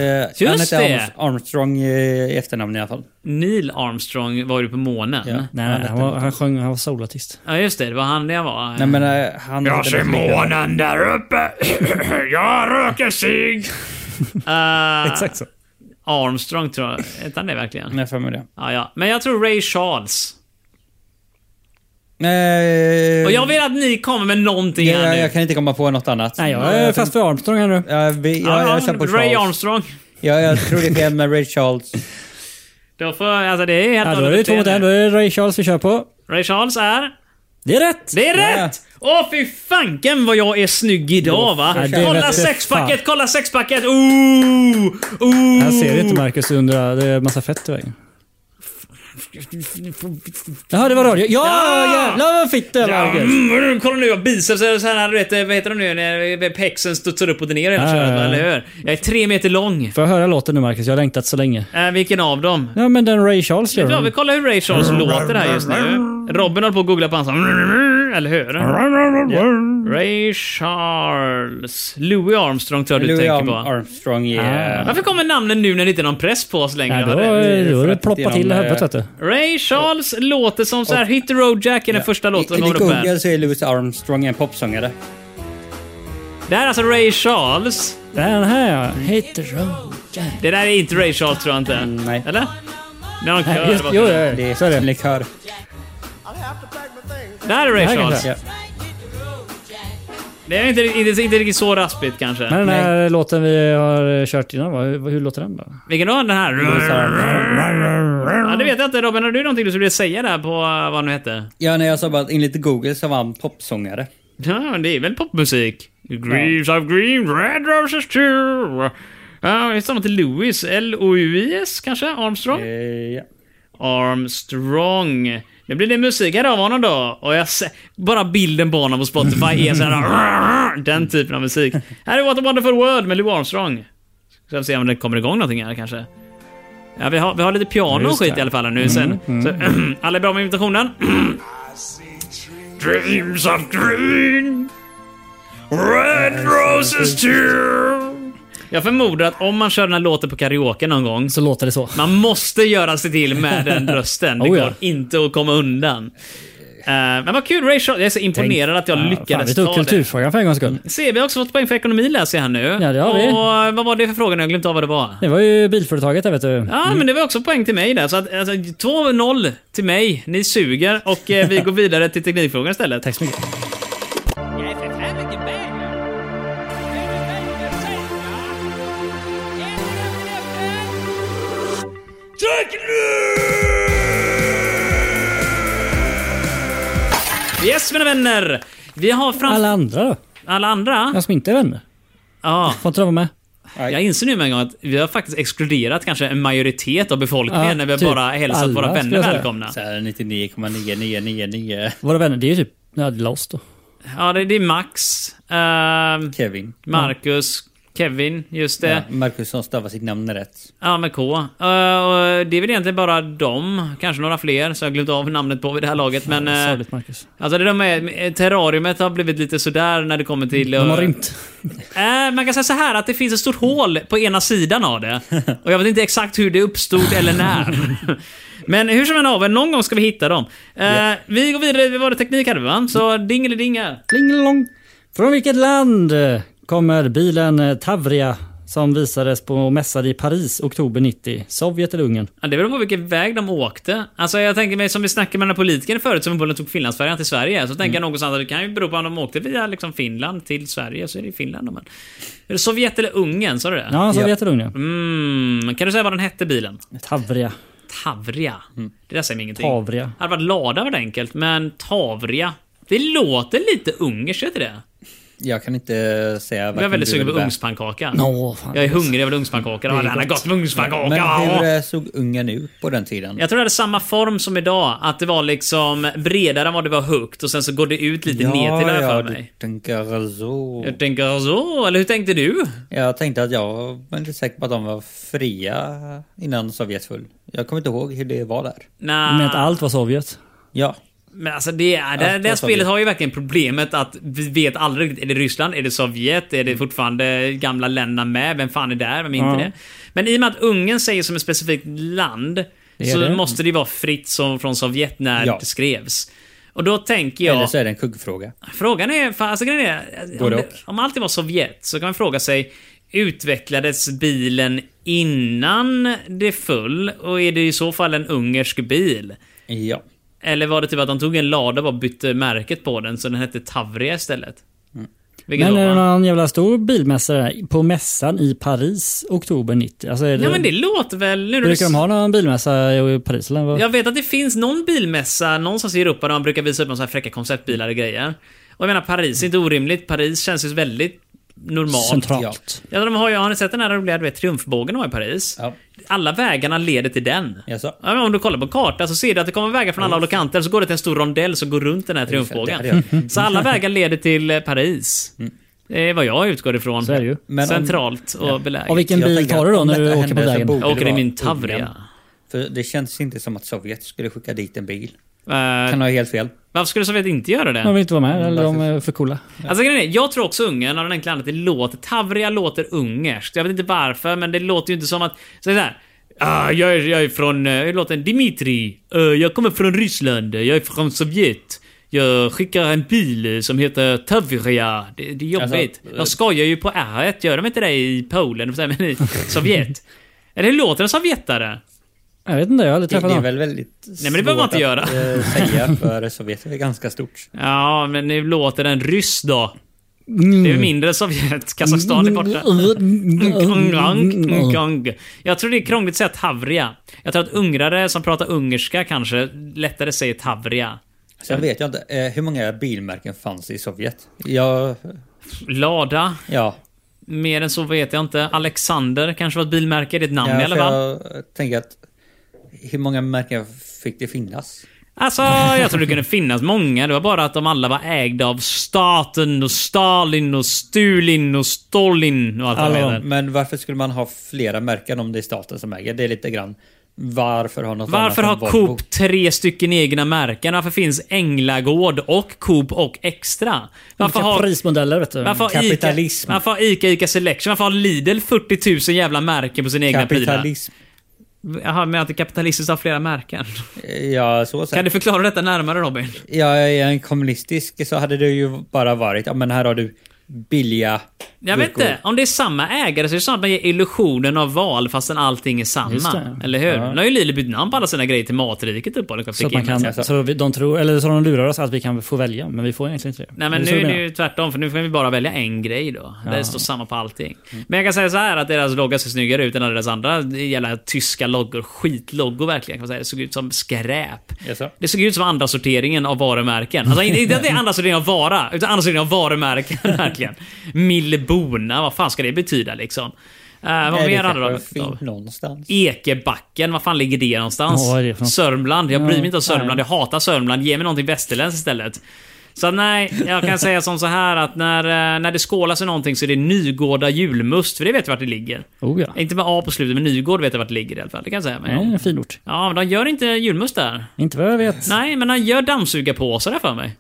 Speaker 2: han heter
Speaker 1: det!
Speaker 2: Arms- Armstrong eh, i efternamn i alla fall.
Speaker 1: Neil Armstrong var ju på månen. Ja,
Speaker 4: Nej, nej, han, var, han sjöng, han var solartist.
Speaker 1: just det. Det var han det var.
Speaker 2: Nej men eh, han... Jag ser månen!
Speaker 1: Eh,
Speaker 4: Exakt så.
Speaker 1: Armstrong tror jag. Hette han det verkligen?
Speaker 2: Nej, för mig det.
Speaker 1: Ja, ja. Men jag tror Ray Charles.
Speaker 2: Eh,
Speaker 1: Och jag vill att ni kommer med någonting
Speaker 2: jag,
Speaker 1: här
Speaker 2: jag,
Speaker 1: nu.
Speaker 2: jag kan inte komma på något annat.
Speaker 4: Nej, jag är fast för Armstrong här nu.
Speaker 2: Jag, vi, jag, jag,
Speaker 1: Ja,
Speaker 2: kör på
Speaker 1: Ray
Speaker 2: Charles.
Speaker 1: Armstrong.
Speaker 2: Ja, jag tror det är med Ray Charles.
Speaker 1: Då får, alltså det är helt
Speaker 4: Ja, då är
Speaker 1: annorlunda
Speaker 4: det två mot en. Då är det Ray Charles vi kör på.
Speaker 1: Ray Charles är...
Speaker 4: Det är rätt!
Speaker 1: Det är
Speaker 2: Ja.
Speaker 1: rätt! Åh fy fanken vad jag är snygg idag va?
Speaker 4: Ja, det är
Speaker 1: kolla
Speaker 4: rätt.
Speaker 1: sexpacket, kolla sexpacket! Ooh! Ooh!
Speaker 4: Jag ser inte Marcus undra. Det är massa fett i vägen. Jaha, det var radio. Ja,
Speaker 1: Ja!
Speaker 4: jävlar vad fick det
Speaker 1: Ja,
Speaker 4: Marcus!
Speaker 1: mm, kolla nu, jag har biceps så här, du vet, vad heter de nu när eh, pexen studsar upp och ner hela
Speaker 4: Ja,
Speaker 1: könet,
Speaker 4: ja, ja.
Speaker 1: eller hur? Jag är tre meter lång.
Speaker 4: Får jag höra låten nu Marcus? Jag har längtat så länge.
Speaker 1: Äh, vilken av dem?
Speaker 4: Ja, men den Ray Charles gör
Speaker 1: Ja, vi
Speaker 4: den.
Speaker 1: kollar hur Ray Charles låter här just nu. Robin håller på att googla på hans eller hur? Ja. Ray Charles. Louis Armstrong tror jag du
Speaker 2: Louis
Speaker 1: tänker
Speaker 2: Arm-
Speaker 1: på.
Speaker 2: Armstrong i...
Speaker 4: Ah.
Speaker 2: eh,
Speaker 1: Varför kommer namnen nu när det inte är någon press på oss längre?
Speaker 4: Ja, då,
Speaker 1: Har du rätt?
Speaker 4: då,
Speaker 2: för
Speaker 4: då
Speaker 2: att
Speaker 4: ploppar till i
Speaker 2: genom,
Speaker 4: huvudet
Speaker 2: eh,
Speaker 4: vet du.
Speaker 1: Ray Charles låter som så här Hit the Road Jack är den första låten som
Speaker 2: Enligt
Speaker 1: kommer upp här.
Speaker 2: Google så är Louis Armstrong en popsångare.
Speaker 1: Det här är alltså Ray Charles.
Speaker 4: Den här ja. Hit the road.
Speaker 1: Det där är inte Ray Charles tror jag inte.
Speaker 2: nej.
Speaker 1: Eller? Det är någon
Speaker 4: Mm, Nej,
Speaker 1: kör
Speaker 4: just,
Speaker 1: bakom.
Speaker 4: jo,
Speaker 2: Det
Speaker 4: ja, så är
Speaker 2: är en
Speaker 4: det.
Speaker 2: likör.
Speaker 1: Det här är Ray
Speaker 4: Det här
Speaker 1: Charles.
Speaker 4: kanske.
Speaker 2: Ja.
Speaker 1: Det är inte, inte, inte riktigt så raspigt kanske.
Speaker 4: Men den här låten vi har eh, kört innan, va? hur, hur låter den då?
Speaker 1: Vilken då? Den här?
Speaker 2: Louis Armstrong.
Speaker 1: Ja, det vet jag inte. Robin, har du någonting du skulle vilja säga där på eh, vad nu hette?
Speaker 2: Ja, när jag sa bara att enligt Google så var han popsångare.
Speaker 1: Ja, men det är väl popmusik? Greaves of green, red roses too. Ja, det stämmer till Louis. L-O-U-I-S kanske? Armstrong?
Speaker 2: Eh, ja.
Speaker 1: Armstrong. Nu blir det musik här av honom då. Och jag ser, bara bilden på honom på Spotify är sådär... Den typen av musik. Här är What a wonderful world med Lou Armstrong. Ska vi se om det kommer igång någonting här kanske. Ja, vi har, vi har lite piano och skit i alla fall nu sen. Så, alla är bra med invitationen? Dreams of green Red roses too Jag förmodar att om man kör den här låten på karaoke någon gång
Speaker 4: Så låter det så.
Speaker 1: man måste göra sig till med den rösten. Det
Speaker 4: Oh ja.
Speaker 1: går inte att komma undan. Eh, men vad kul, Ray Charles. Jag är så imponerad att jag
Speaker 4: Fan, vi
Speaker 1: lyckades
Speaker 4: tog
Speaker 1: ta det.
Speaker 4: kulturfrågan för en gångs skull.
Speaker 1: Se, vi har också fått poäng för ekonomi läser jag här nu.
Speaker 4: Ja, det har vi.
Speaker 1: Och vad var det för fråga nu? Jag har glömt av vad det var.
Speaker 4: Det var ju bilföretaget där vet du.
Speaker 1: Ja, men det var också poäng till mig där. Så att, alltså, 2-0 till mig. Ni suger och eh, vi går vidare till teknikfrågan istället.
Speaker 4: Tack så mycket.
Speaker 7: Jag är för fan inte med. Är du med? Jag säger ja. Är du med, fan?
Speaker 1: Yes, mina vänner! Vi har framför...
Speaker 4: Alla
Speaker 1: Alla,
Speaker 4: andra då?
Speaker 1: andra?
Speaker 4: De som inte är vänner?
Speaker 1: Ja.
Speaker 4: Får inte de vara med?
Speaker 1: Jag inser nu med en gång att vi har faktiskt exkluderat kanske en majoritet av befolkningen
Speaker 4: Ja,
Speaker 1: när vi
Speaker 4: typ
Speaker 1: bara hälsat
Speaker 4: alla,
Speaker 1: våra
Speaker 4: skulle
Speaker 1: vänner
Speaker 4: jag säga.
Speaker 1: välkomna.
Speaker 2: Så här 99,9999
Speaker 4: Våra vänner, det är ju typ... Ja, det är Lost då.
Speaker 1: Ja, det, det är Max, ehm,
Speaker 2: Kevin.
Speaker 1: Marcus, Kevin, just det.
Speaker 2: Ja, Marcus som stavar sitt namn rätt.
Speaker 1: Ja, med K. Eh, och det är väl egentligen bara dem, kanske några fler, så jag har glömt av namnet på vid det här laget. Men eh,
Speaker 4: Sorgligt Marcus.
Speaker 1: alltså det där med eh, terrariumet har blivit lite sådär när det kommer till...
Speaker 4: De har
Speaker 1: eh,
Speaker 4: rymt.
Speaker 1: Eh, man kan säga så här att det finns ett stort hål på ena sidan av det. Och jag vet inte exakt hur det uppstod eller när. Men hur som än av, någon gång ska vi hitta dem. Eh, Vi går vidare, vi var det teknik hade vi va? Så dingelidingar.
Speaker 4: Plingelong. Från vilket land eh, kommer bilen eh, Tavria som visades på mässan i Paris oktober 90, Sovjet eller Ungern.
Speaker 1: Ja, det beror på vilken väg de åkte. Alltså jag tänker mig, som vi snackade med den här politikern förut som uppenbarligen tog Finlandsfärjan till Sverige. Så tänker
Speaker 4: Mm.
Speaker 1: jag någonstans att det kan ju bero på om de åkte via liksom Finland till Sverige, så är det ju Finland de är. Är det Sovjet eller Ungern? Sa du det?
Speaker 4: Ja, Sovjet eller Ungern.
Speaker 1: Mm, kan du säga vad den hette bilen?
Speaker 4: Tavria.
Speaker 1: Tavria. Det där säger mig ingenting.
Speaker 4: Mm. Tavria.
Speaker 1: Det hade varit Lada var det enkelt, men Tavria. Det låter lite ungerskt, gör inte det?
Speaker 2: Jag kan inte säga
Speaker 1: Jag är
Speaker 2: varken
Speaker 1: väldigt
Speaker 2: du
Speaker 1: sugen
Speaker 2: eller
Speaker 1: på
Speaker 2: Bär.
Speaker 1: ugnspannkaka.
Speaker 4: Nå, fan.
Speaker 1: Jag är hungrig över ugnspannkaka. Ja, det hade gått med ugnspannkaka!
Speaker 2: Men
Speaker 1: Ja.
Speaker 2: hur eh, såg Ungern ut på den tiden?
Speaker 1: Jag tror det hade samma form som idag, att det var liksom bredare än vad det var högt och sen så går det ut lite ner till det här
Speaker 2: ja,
Speaker 1: för
Speaker 2: du
Speaker 1: mig.
Speaker 2: tänker så.
Speaker 1: Jag tänker så, eller hur tänkte du?
Speaker 2: Jag tänkte att jag var inte säker på att de var fria innan Sovjet föll. Jag kommer inte ihåg hur det var där.
Speaker 1: Nah,
Speaker 4: Men att allt var Sovjet.
Speaker 2: Ja,
Speaker 1: Men alltså det, är, det,
Speaker 2: Ja,
Speaker 1: det här
Speaker 2: vad sa
Speaker 1: spelet
Speaker 2: vi?
Speaker 1: har ju verkligen problemet att vi vet aldrig riktigt. Är det Ryssland? Är det Sovjet? Är det fortfarande gamla länderna med? Vem fan är där? Vem är inte
Speaker 4: Ja.
Speaker 1: det? Men i och med att Ungern säger som ett specifikt land
Speaker 4: Det är
Speaker 1: så
Speaker 4: det.
Speaker 1: måste det ju vara fritt som från Sovjet när
Speaker 2: Ja.
Speaker 1: det skrevs. Och då tänker jag...
Speaker 2: eller så är det en kuggfråga.
Speaker 1: Frågan är, fan, alltså grejen är, om,
Speaker 2: Både
Speaker 1: det,
Speaker 2: och.
Speaker 1: om allting var Sovjet så kan man fråga sig, utvecklades bilen innan det föll? Och är det i så fall en ungersk bil?
Speaker 2: Ja.
Speaker 1: Eller var det typ att de tog en lada och bara bytte märket på den så den hette Tavria istället? Vilket
Speaker 4: Men är
Speaker 1: var
Speaker 4: det
Speaker 1: man...
Speaker 4: någon jävla stor bilmässa där på mässan i Paris oktober 90? Alltså är det,
Speaker 1: Ja men det låter väl... Nu när du
Speaker 4: Brukar de ha någon bilmässa i Paris eller? vad?
Speaker 1: Jag vet att det finns någon bilmässa någonstans i Europa där man brukar visa upp några så här fräcka konceptbilar och grejer. Och jag menar Paris är inte orimligt. Paris känns ju väldigt normalt.
Speaker 4: Centralt.
Speaker 1: Ja, de har ju, har ni sett den här roliga du vet, triumfbågen de har i Paris?
Speaker 2: Ja.
Speaker 1: Alla vägarna leder till den.
Speaker 2: Jaså?
Speaker 1: Ja, men om du kollar på kartan så ser du att det kommer vägar från alla håll och kanter, så går det till en stor rondell som går runt den här
Speaker 2: det hade
Speaker 1: triumfbågen. Så alla vägar leder till eh, Paris. Det är vad jag utgår ifrån.
Speaker 4: Så är det ju.
Speaker 2: Men om-
Speaker 1: Centralt och beläget.
Speaker 4: Och vilken
Speaker 2: Jag
Speaker 4: bil
Speaker 2: tänker
Speaker 4: tar du då
Speaker 2: att om
Speaker 4: när du
Speaker 2: detta
Speaker 4: åker på
Speaker 2: händer så
Speaker 4: vägen?
Speaker 2: borde
Speaker 1: Jag åker
Speaker 2: det
Speaker 1: i min
Speaker 2: vara
Speaker 1: Tavria.
Speaker 2: Ungern. För det känns inte som att Sovjet skulle skicka dit en bil.
Speaker 1: Eh,
Speaker 2: Kan ha helt fel.
Speaker 1: varför skulle Sovjet inte göra det?
Speaker 4: De vill inte vara med eller de är för coola.
Speaker 1: Alltså grejen är, jag tror också Ungern av den enkla anledningen att det låter... Tavria låter ungerskt. Jag vet inte varför, men det låter ju inte som att... Så är det så här, ah, jag, är, jag är från... eh, Jag låter Dimitri. eh, jag kommer från Ryssland. eh, Jag är från Sovjet. Jag skickar en bil eh, som heter Tavria. Det, det är jobbigt.
Speaker 2: Alltså, eh,
Speaker 1: de skojar ju på r Gör de inte det i Polen? Men i Sovjet? Eller hur låter en sovjetare?
Speaker 4: Jag vet inte, jag har aldrig
Speaker 2: Det, det
Speaker 4: träffat
Speaker 2: är
Speaker 4: någon.
Speaker 2: väl väldigt
Speaker 1: Nej, men det behöver man
Speaker 2: svårt
Speaker 1: inte
Speaker 2: att,
Speaker 1: göra.
Speaker 2: eh, säga för Sovjet är ganska stort.
Speaker 1: Ja, men nu låter en ryss då. Det är ju mindre Sovjet. Kazakstan är borta.
Speaker 2: Mm,
Speaker 1: Ungrang, ungrang. Jag tror det är krångligt att säga Tavria. Jag tror att ungrare som pratar ungerska kanske lättare säger Tavria.
Speaker 2: Sen vet jag inte, eh, hur många bilmärken fanns i Sovjet? Jag,
Speaker 1: Lada,
Speaker 2: ja,
Speaker 1: mer än så vet jag inte. Alexander kanske var ett bilmärke, det är ett namn i
Speaker 2: ja
Speaker 1: alla
Speaker 2: för
Speaker 1: fall.
Speaker 2: jag tänker att hur många märken fick det finnas?
Speaker 1: Alltså, jag tror det kunde finnas många. Det var bara att de alla var ägda av staten och Stalin och Stulin och Stolin och allt vad de
Speaker 2: Alla,
Speaker 1: heter.
Speaker 2: men varför skulle man ha flera märken om det är staten som äger? Det är lite grann varför har något
Speaker 1: Varför har
Speaker 2: annat än Volvo?
Speaker 1: Coop tre stycken egna märken? Varför finns Änglagård och Coop och Extra? Varför
Speaker 4: Vilka
Speaker 1: har
Speaker 4: prismodeller vet du.
Speaker 1: Varför har, Ica,
Speaker 2: Kapitalism.
Speaker 1: varför har Ica Ica Selection? Varför har Lidl 40 000 jävla märken på sina egna prylar?
Speaker 2: Kapitalism.
Speaker 1: Jaha, men att det är kapitalistiskt att ha flera märken?
Speaker 2: Ja, så
Speaker 1: Kan
Speaker 2: säger
Speaker 1: du förklara detta närmare Robin?
Speaker 2: Ja, är jag en kommunistisk så hade det ju bara varit, ja men här har du billiga
Speaker 1: Jag vet
Speaker 2: burkor.
Speaker 1: inte. Om det är samma ägare så är det snarare att man ger illusionen av val fastän allting är
Speaker 4: Just
Speaker 1: samma.
Speaker 4: det.
Speaker 1: Eller hur? Nu har ju Lidl bytt namn på alla sina grejer till Matriket liksom uppenbarligen.
Speaker 4: Så, att man kan,
Speaker 2: alltså.
Speaker 4: så vi- de tror, eller så de lurar oss att vi kan få välja, men vi får egentligen inte det.
Speaker 1: Nej men
Speaker 4: Det är så
Speaker 1: nu
Speaker 4: jag
Speaker 1: är det
Speaker 4: menar.
Speaker 1: ju tvärtom, för nu kan vi bara välja en grej då. Där det står samma på allting. Men jag kan säga så här att deras logga ser snyggare ut än alla deras andra jävla tyska loggor. Skitloggo verkligen kan man säga. Det såg ut som skräp.
Speaker 2: Jaså?
Speaker 1: Det såg ut som andra sorteringen av varumärken. Alltså inte inte att det är andra sorteringen av vara, utan andra sorteringen av varumärken verkligen. Millbona, vad fan ska det betyda liksom? Eh, vad
Speaker 2: Nej, det
Speaker 1: mer hade de?
Speaker 2: kanske finns någonstans.
Speaker 1: Ekebacken, var fan ligger det någonstans?
Speaker 4: Ja, vad är det för något?
Speaker 1: Sörmland. Jag bryr mig inte om
Speaker 4: Ja,
Speaker 1: Sörmland.
Speaker 4: nej.
Speaker 1: Jag hatar Sörmland. Ge mig någonting västerländskt istället. Så nej, jag kan säga som så här att när, eh, när det skålas i någonting så är det Nygårda julmust, för det vet jag vart det ligger.
Speaker 4: Oh ja.
Speaker 1: Inte med A på slutet, men Nygård vet jag vart det ligger i alla fall. Det kan jag säga.
Speaker 4: Ja,
Speaker 1: Men,
Speaker 4: en fin ort.
Speaker 1: ja, men de gör inte julmust där.
Speaker 4: Inte vad jag vet.
Speaker 1: Nej, men han gör dammsugarpåsar här för mig.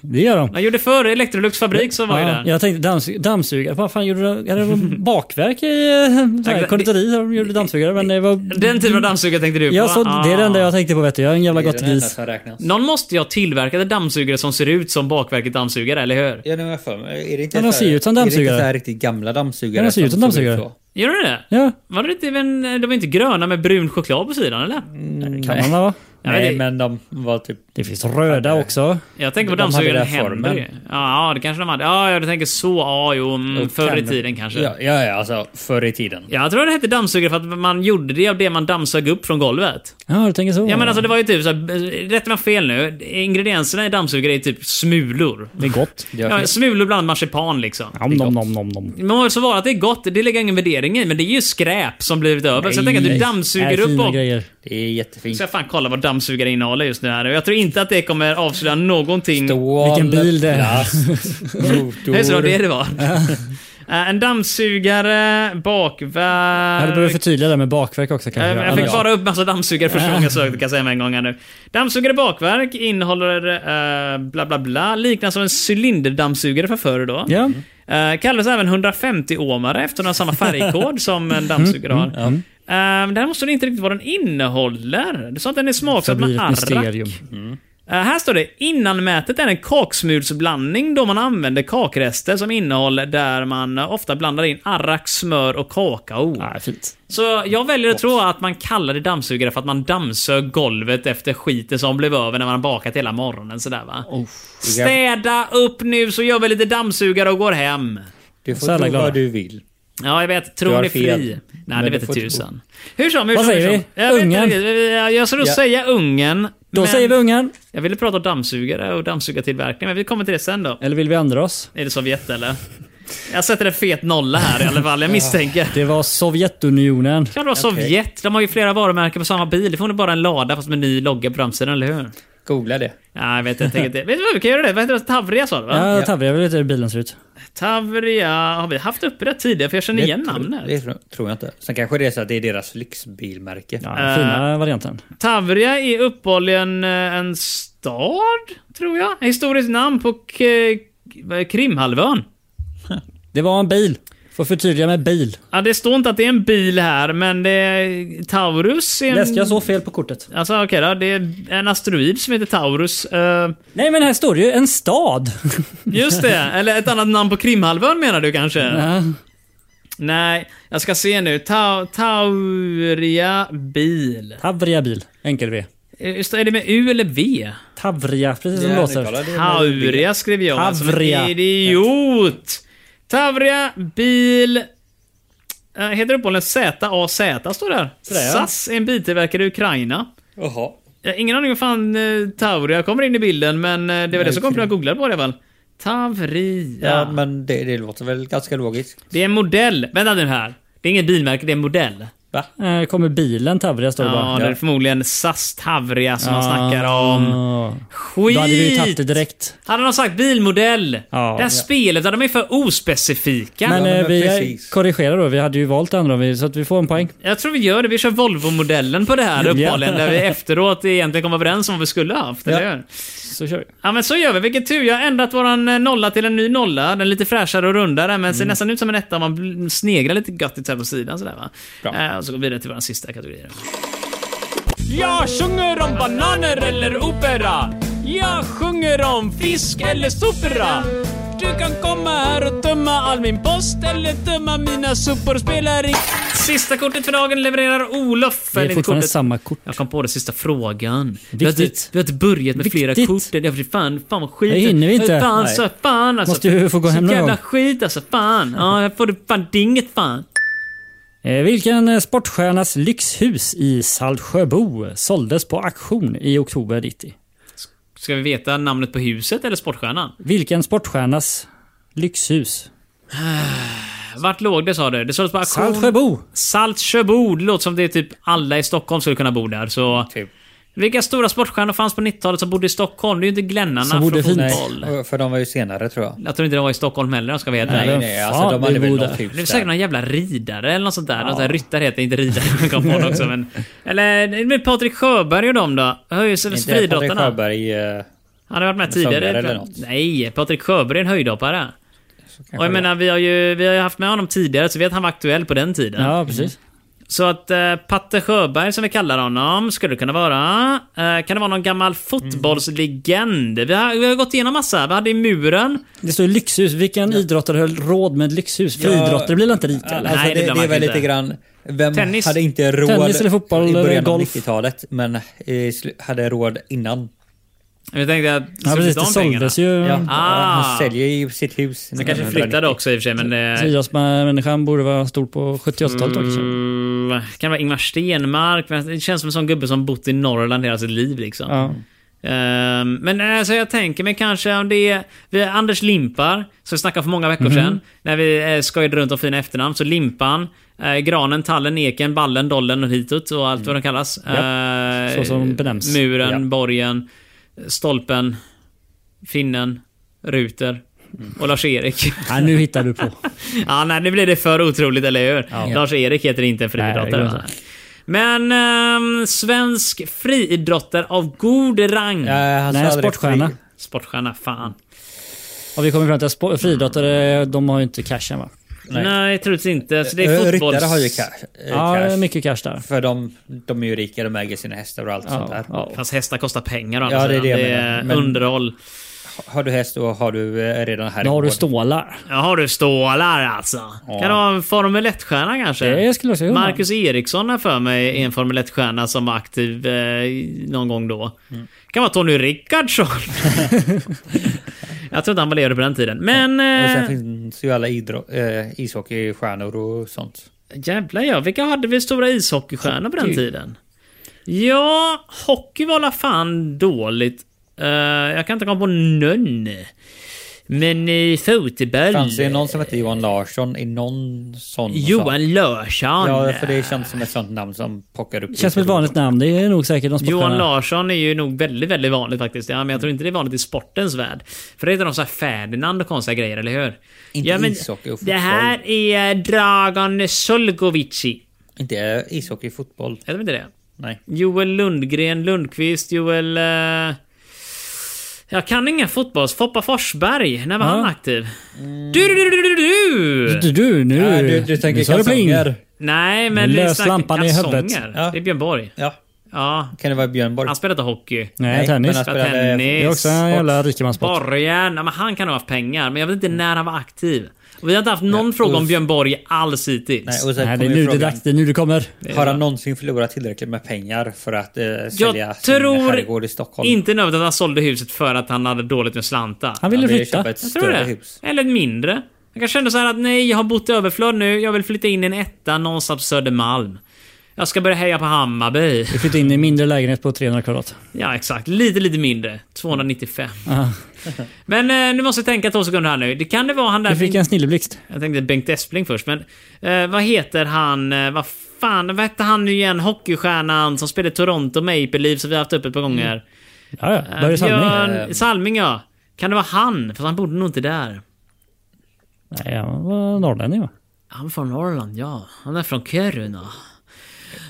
Speaker 4: Det gör de.
Speaker 1: Han gjorde förr Electrolux fabrik så var ju
Speaker 4: Ja,
Speaker 1: den.
Speaker 4: jag tänkte damms, dammsugare. Vad fan gjorde de? Hade de bakverk i eh, så här,
Speaker 1: det-
Speaker 4: konditori? där De gjorde dammsugare. Men det var...
Speaker 1: Den typen av dammsugare tänkte du på?
Speaker 4: Mm. Ja, så
Speaker 1: va? Ah.
Speaker 4: det är det enda jag tänkte på vet du. Jag är en jävla
Speaker 2: Det är
Speaker 4: gott
Speaker 2: den enda
Speaker 4: gris.
Speaker 2: som räknas.
Speaker 1: Någon måste ju ha tillverkat en dammsugare som ser ut som bakverket dammsugare, eller hur?
Speaker 2: Ja, nu har jag för mig. Är det inte
Speaker 4: Ja, de
Speaker 2: så
Speaker 4: ser
Speaker 2: här-
Speaker 4: ju ut som
Speaker 2: Är det
Speaker 4: dammsugare.
Speaker 2: inte så här riktigt gamla dammsugare?
Speaker 4: Ja, de ser ut som dammsugare.
Speaker 2: så?
Speaker 1: Gör du det?
Speaker 4: Ja,
Speaker 1: Var det inte, men, de var inte gröna med brun choklad på sidan, eller?
Speaker 4: kan man va?
Speaker 1: Ja,
Speaker 2: Nej,
Speaker 1: det-
Speaker 2: men de var typ...
Speaker 4: Mm, Det finns röda också.
Speaker 1: Jag tänker på
Speaker 2: De hade
Speaker 1: dammsugaren
Speaker 2: den formen.
Speaker 1: Henry. Ja, det kanske de hade. Ja, ja, du tänker så. Ja, jo. Mm, förr i tiden kanske.
Speaker 2: Ja, ja, ja, alltså förr i tiden.
Speaker 1: Jag tror det hette dammsugare för att man gjorde det av det man dammsög upp från golvet.
Speaker 4: Ja, du tänker så.
Speaker 1: Ja men alltså det var ju typ såhär, rätta mig fel nu, ingredienserna i dammsugare är typ smulor.
Speaker 4: Det är gott.
Speaker 1: Ja, smulor bland marsipan liksom.
Speaker 4: Om, nom, nom, nom, nom.
Speaker 1: Men må så vara att det är gott, det lägger jag ingen värdering i, men det är ju skräp som blivit över. så jag tänker att du dammsuger
Speaker 4: Äh,
Speaker 1: upp
Speaker 4: fina
Speaker 1: och...
Speaker 4: grejer.
Speaker 2: Det är jättefint.
Speaker 1: Ska jag fan kolla vad dammsugare innehåller just nu här nu. Jag tror inte att det kommer avslöja någonting.
Speaker 2: Stål,
Speaker 4: Vilken bil det är.
Speaker 2: plast,
Speaker 1: Det är så det
Speaker 2: motor.
Speaker 1: det var. Eh, en dammsugare,
Speaker 4: Jag hade behövt
Speaker 1: bakverk...
Speaker 4: förtydliga det med bakverk också kanske.
Speaker 1: Eh, Jag
Speaker 4: Annars-
Speaker 1: fick bara upp massa dammsugare första gången jag sökte kan jag säga med en gång här nu. Dammsugare bakverk innehåller eh, bla bla bla, liknande som en cylinderdammsugare för förr då.
Speaker 4: Ja.
Speaker 1: Eh, kallas även 150-åmare eftersom den har samma färgkod som en dammsugare
Speaker 4: Mm,
Speaker 1: har. Eh, där måste det inte riktigt vad den innehåller. Det sa att den är smaksatt
Speaker 4: Förblir
Speaker 1: med
Speaker 4: ett
Speaker 1: arrak.
Speaker 4: mysterium.
Speaker 1: Eh, här står det innanmätet är en kaksmulsblandning då man använder kakrester som innehåll där man eh, ofta blandar in arrak, smör och kakao.
Speaker 4: Ja, fint.
Speaker 1: Så jag väljer att tro att man kallade dammsugare för att man dammsög golvet efter skiten som blev över när man bakat hela morgonen sådär va. Städa upp nu så gör vi lite dammsugare och går hem.
Speaker 2: Du
Speaker 4: Så
Speaker 2: får
Speaker 4: alla
Speaker 2: tro
Speaker 4: glada.
Speaker 2: vad du vill.
Speaker 1: Ja, jag vet. Tron
Speaker 2: Du har
Speaker 1: är fri.
Speaker 2: fel.
Speaker 1: Nej,
Speaker 2: Men
Speaker 1: det
Speaker 2: du
Speaker 1: vet inte
Speaker 2: får tro.
Speaker 1: tusan. Hur som, hur
Speaker 4: Vad
Speaker 1: som, hur
Speaker 4: säger
Speaker 1: som.
Speaker 4: vi?
Speaker 1: Jag vet inte
Speaker 4: Ungen?
Speaker 1: riktigt. Jag- Jag ska nog
Speaker 2: Ja.
Speaker 1: säga ungen.
Speaker 4: Då säger vi ungen.
Speaker 1: Jag ville prata om dammsugare och dammsugartillverkning, men vi kommer till det sen då.
Speaker 4: Eller vill vi ändra oss?
Speaker 1: Är det Sovjet eller? Jag sätter en fet nolla här i alla fall, jag misstänker.
Speaker 4: Det var Sovjetunionen.
Speaker 1: Kan det vara Sovjet? De har ju flera varumärken på samma bil. Det får nog bara en lada fast med ny logga på framsidan, eller hur?
Speaker 2: Googla det.
Speaker 1: Nej, jag vet inte. Jag tänker inte. Vet du vad, vi kan göra det. Vad heter det? Tavria sa du va?
Speaker 4: Ja, Tavre, jag vill veta hur bilen ser ut.
Speaker 1: Tavria. Har vi haft uppe det tidigare? För jag känner igen
Speaker 2: Det tro-
Speaker 1: namnet.
Speaker 2: Det tro- tror jag inte. Sen kanske det är så att det är deras lyxbilmärke.
Speaker 4: Ja, den fina varianten.
Speaker 1: Tavria är uppehållligen eh, en stad, tror jag. Historiskt namn på K- vad är Krimhalvön.
Speaker 4: Det var en bil. Får förtydliga med bil.
Speaker 1: Ja, det står inte att det är en bil här, men det är Taurus. Är en...
Speaker 4: Läste jag så fel på kortet?
Speaker 1: Alltså okej då, det är en asteroid som heter Taurus. Eh,
Speaker 4: Nej, men här står det ju en stad.
Speaker 1: just det, eller ett annat namn på Krimhalvön menar du kanske? Nej, jag ska se nu. Ta- Tauria bil.
Speaker 4: Tavria bil. Enkel V.
Speaker 1: Eh, just det, Är det med U eller V?
Speaker 4: Tavria, precis som
Speaker 2: Ja,
Speaker 4: det
Speaker 2: det
Speaker 4: låter.
Speaker 2: kallar det.
Speaker 1: Tauria skrev jag. alltså, Tavria. Som
Speaker 4: Tavria.
Speaker 1: en idiot. Tavria, bil... Äh, heter uppehållligen ZAZ står det här.
Speaker 4: Sådär, ja.
Speaker 1: SAS är en biltillverkare i Ukraina.
Speaker 2: Jaha.
Speaker 1: Jag har ingen aning om fan eh, Tauria kommer in i bilden men eh, det var det som kom för jag googlade på det väl. Tavria.
Speaker 2: Ja, men det, det låter väl ganska logiskt.
Speaker 1: Det är en modell. Vänta nu här. Det är ingen bilmärke, det är en modell.
Speaker 2: Va?
Speaker 4: Här Eh, kommer bilen Tavria står det
Speaker 1: Ja,
Speaker 4: bara.
Speaker 1: det är förmodligen SAS Tavria som man
Speaker 4: Ja.
Speaker 1: snackar om. Skit!
Speaker 4: Då hade vi ju tagit det direkt.
Speaker 1: Hade de sagt bilmodell?
Speaker 4: Ja.
Speaker 1: det här spelet, de är för ospecifika.
Speaker 4: Men,
Speaker 2: men
Speaker 4: eh, vi
Speaker 2: precis.
Speaker 4: korrigerar då. Vi hade ju valt det andra om vi- så att vi får en poäng.
Speaker 1: Jag tror vi gör det. Vi kör Volvo-modellen på det här uppehållen där vi efteråt egentligen kom överens om vad vi skulle ha haft. Eller hur?
Speaker 4: Så kör vi.
Speaker 1: Ja men så gör vi. Vilken tur. Jag har ändrat våran eh, nolla till en ny nolla. Den är lite fräschare och rundare men
Speaker 4: Mm.
Speaker 1: ser nästan ut som en etta om man bl- sneglar lite göttigt så här på sidan sådär va. Eh, och så går vi vidare till våran sista kategori. Jag sjunger om bananer eller opera. Jag sjunger om fisk eller sopera. Du kan komma här och tömma all min post eller tömma mina sopor. Spelar i... Sista kortet för dagen levererar Olof.
Speaker 4: Det är
Speaker 1: Eller
Speaker 4: fortfarande
Speaker 1: kortet-
Speaker 4: samma kort.
Speaker 1: jag kom på den sista frågan. Vi har,
Speaker 4: Viktigt.
Speaker 1: inte, vi har inte börjat med flera
Speaker 4: Viktigt.
Speaker 1: kort. Det är fan, fan vad skit.
Speaker 4: Det hinner vi inte.
Speaker 1: Fan,
Speaker 4: Nej.
Speaker 1: så, fan alltså.
Speaker 4: Måste ju få gå
Speaker 1: Så
Speaker 4: hem någon
Speaker 1: jävla
Speaker 4: gång.
Speaker 1: skit alltså. Fan. Ja, jag får det fan dinget fan.
Speaker 4: Eh, Vilken eh, sportstjärnas lyxhus i Saltsjöbo såldes på auktion i oktober 90?
Speaker 1: Ska vi veta namnet på huset eller sportstjärnan?
Speaker 4: Vilken sportstjärnas lyxhus?
Speaker 1: Vart låg det sa du? Det såldes på auktion.
Speaker 4: Saltsjöbo.
Speaker 1: Saltsjöbo. Det låter som det är typ alla i Stockholm skulle kunna bo där. Så...
Speaker 2: Typ.
Speaker 1: Vilka stora sportstjärnor fanns på 90-talet som bodde i Stockholm? Det är ju inte Glennarna
Speaker 4: Som bodde
Speaker 1: från
Speaker 4: fint.
Speaker 1: fotboll.
Speaker 2: För de var ju senare tror jag.
Speaker 1: Jag tror inte de var i Stockholm heller, ska vi vara helt ärliga.
Speaker 2: Nej,
Speaker 4: vem
Speaker 2: nej,
Speaker 4: fan
Speaker 2: alltså de hade
Speaker 4: vill
Speaker 2: väl
Speaker 4: bo
Speaker 2: något
Speaker 4: där?
Speaker 1: Det är
Speaker 2: hus
Speaker 1: säkert
Speaker 2: där.
Speaker 1: någon jävla ridare eller något sånt där. Något där ryttare heter inte ridare, jag kom på det också. Men, eller det är väl Patrik Sjöberg och dem då? Höjs över
Speaker 2: Inte Patrik
Speaker 1: Fridrottarna.
Speaker 2: Sjöberg. eh,
Speaker 1: Han har varit med tidigare.
Speaker 2: Sångare eller något.
Speaker 1: Nej, Patrik Sjöberg är en höjdhoppare. Och jag menar, vi har ju vi har ju haft med honom tidigare, så vi vet att han var aktuell på den tiden.
Speaker 4: Ja, precis.
Speaker 1: Så att eh, Patte Sjöberg, som vi kallar honom, skulle det kunna vara. Eh, kan det vara någon gammal fotbollslegend? Vi, har, vi har gått igenom massa. Vi hade i muren.
Speaker 4: Det står ju lyxhus. Vilken idrottare höll råd med ett lyxhus? För
Speaker 2: Ja.
Speaker 4: idrottare blir väl inte rika? eller?
Speaker 2: Alltså,
Speaker 1: Nej, det
Speaker 2: det,
Speaker 1: blir
Speaker 2: det,
Speaker 1: man
Speaker 2: är väl
Speaker 1: inte.
Speaker 2: lite grann... Vem
Speaker 1: Tennis.
Speaker 2: hade inte råd
Speaker 4: Tennis eller fotboll
Speaker 2: i
Speaker 4: eller
Speaker 2: början av
Speaker 4: golf? Mm.
Speaker 2: 90-talet men i slu- hade råd innan?
Speaker 1: Vi tänkte att
Speaker 4: Ja, precis. Det
Speaker 1: de pengarna.
Speaker 4: såldes ju.
Speaker 2: Ja,
Speaker 1: Ah.
Speaker 2: Han säljer ju sitt hus.
Speaker 1: Så kanske flyttade också i och för sig, men...
Speaker 4: Så
Speaker 1: Eh,
Speaker 4: idrottsmänniskan borde vara stor på 70 80-talet också.
Speaker 1: mm, kan det vara Ingmar Stenmark? Men Det känns som en sån gubbe som bott i Norrland hela sitt liv liksom.
Speaker 4: Ja.
Speaker 1: Ehm, men alltså, jag tänker mig kanske om det är... Vi, Anders Limpar, som vi snackade för många veckor
Speaker 4: Mhm.
Speaker 1: sedan, när vi eh, skojade runt om fina efternamn. Så Limpan, eh, Granen, Tallen, Eken, Ballen, Dollen och hitåt och allt vad de kallas. Eh,
Speaker 4: Mm. så som benämns.
Speaker 1: Muren,
Speaker 4: Ja.
Speaker 1: Borgen, Stolpen, Finnen, Ruter
Speaker 4: Mm.
Speaker 1: och Lars-Erik.
Speaker 4: Nej, nu hittar du på.
Speaker 1: Ja, nej, nu blir det för otroligt, eller hur? Lars-Erik heter inte en friidrottare.
Speaker 4: Nej, det går
Speaker 1: va? Men ehm, svensk friidrottare av god rang.
Speaker 4: Nej, sportstjärna.
Speaker 1: Sportstjärna, fan.
Speaker 4: Och vi kommer fram till att spo- friidrottare, de har ju inte cashen va?
Speaker 1: Nej,
Speaker 2: Nej.
Speaker 1: troligtvis inte. Så det är fotbolls...
Speaker 2: Ryttare har ju cash. eh,
Speaker 4: Ja, det
Speaker 2: cash.
Speaker 4: är mycket cash där.
Speaker 2: För de, de är ju rika, de äger sina hästar och allt sånt
Speaker 4: Ja,
Speaker 2: där.
Speaker 4: ja.
Speaker 1: Fast hästar kostar pengar å
Speaker 2: Ja,
Speaker 1: andra
Speaker 2: det är
Speaker 1: sidan.
Speaker 2: det jag
Speaker 1: det är
Speaker 2: menar. Men-
Speaker 1: underhåll.
Speaker 2: Har du häst och har du eh, redan här i
Speaker 4: Då har du
Speaker 2: gården.
Speaker 4: stålar.
Speaker 1: Ja, har du stålar alltså. Kan det vara en Formel 1-stjärna kanske?
Speaker 4: Det skulle jag säga.
Speaker 1: Marcus Eriksson har för mig är en Formel 1-stjärna som var aktiv eh, någon gång då.
Speaker 2: Mm.
Speaker 1: Kan vara Tony Rickardsson. jag tror inte han var ledig på den tiden. Men...
Speaker 2: Och sen
Speaker 1: Eh,
Speaker 2: finns ju alla idro- eh, ishockeystjärnor och sånt.
Speaker 1: Jävlar ja, vilka hade vi stora ishockeystjärnor på den tiden? Ja, hockey var alla fan dåligt. Eh, jag kan inte komma på någon. Men i fotboll...
Speaker 2: Fanns det någon som hette Johan Larsson i någon sån?
Speaker 1: Johan Larsson.
Speaker 2: Ja, för det känns som ett sånt namn som pockar upp. lite
Speaker 4: Känns som ett
Speaker 2: då.
Speaker 4: vanligt namn. Det är nog säkert de sportstjärnorna.
Speaker 1: Johan Larsson är ju nog väldigt, väldigt vanligt faktiskt. Ja, men jag tror inte det är vanligt i sportens värld. För det heter de så här Ferdinand och konstiga grejer, eller hur?
Speaker 2: Inte
Speaker 1: ja, men
Speaker 2: ishockey och
Speaker 1: Det här är eh, Dragan Solgovici.
Speaker 2: Inte eh, ishockey, fotboll.
Speaker 1: Heter de inte det?
Speaker 2: Nej.
Speaker 1: Joel Lundgren, Lundqvist, Joel... Eh... Jag kan inga fotbolls... Foppa Forsberg, när var han aktiv? Du, du, du, du, du, du.
Speaker 4: Du, du, nu...
Speaker 2: Ja, du, du tänker
Speaker 4: nu sa pling.
Speaker 2: kalsonger.
Speaker 1: Nej, men...
Speaker 4: Nu
Speaker 1: det är
Speaker 4: lös
Speaker 1: snack-
Speaker 4: lampan i
Speaker 1: kalsonger.
Speaker 4: huvudet.
Speaker 2: Ja.
Speaker 1: Det är Björn Borg.
Speaker 2: Ja.
Speaker 1: Ja.
Speaker 2: Kan det vara Björn Borg?
Speaker 1: Han
Speaker 4: Alltså,
Speaker 1: spelade inte hockey.
Speaker 4: Nej,
Speaker 2: Nej,
Speaker 4: tennis.
Speaker 2: men han spelade-
Speaker 4: Det är
Speaker 1: Tennis.
Speaker 4: också en jävla Mm. rikemanssport.
Speaker 1: Borgen. Ja, men han kan nog ha haft pengar, men jag vet inte när han var aktiv. Och vi har inte haft någon fråga om
Speaker 2: uff.
Speaker 1: Björn Borg alls hittills.
Speaker 2: Nej, och sen
Speaker 4: Nej, det
Speaker 2: kommer
Speaker 4: är nu
Speaker 2: ju
Speaker 4: det är
Speaker 2: frågan,
Speaker 4: dags. Det är nu det kommer.
Speaker 2: Har han någonsin förlorat tillräckligt med pengar för att eh,
Speaker 1: jag
Speaker 2: sälja sin herrgård
Speaker 1: tror
Speaker 2: i Stockholm?
Speaker 1: inte nödvändigt att han sålde huset för att han hade dåligt med slantar.
Speaker 4: Han
Speaker 2: Han
Speaker 4: ville
Speaker 2: vill
Speaker 4: flytta.
Speaker 2: köpa ett
Speaker 1: Jag tror
Speaker 2: större
Speaker 1: det.
Speaker 2: hus.
Speaker 1: Eller ett mindre. Jag kan känna så här att nej, jag har bott i överflöd nu. Jag vill flytta in i en etta någonstans på Södermalm. Jag ska börja heja på Hammarby.
Speaker 4: Vi flyttade in i en mindre lägenhet på 300 kvadrat.
Speaker 1: Ja, exakt. Lite, lite mindre. 295. men eh, nu måste jag tänka två sekunder här nu. Det kan det vara han där...
Speaker 4: Vi fick en snilleblixt.
Speaker 1: Jag tänkte Bengt Espling först, men... Eh, vad heter han... Eh, vad fan, vad hette han nu igen? Hockeystjärnan som spelade i Toronto Maple Leafs som vi har haft upp ett par gånger.
Speaker 4: Ja, ja.
Speaker 1: Eh,
Speaker 4: Börje Salming.
Speaker 1: Björn- Salming, ja. Kan det vara han? För han bodde nog inte där.
Speaker 4: Nej, han var norrlänning va?
Speaker 1: Han är från Norrland, ja. Han är från Kiruna.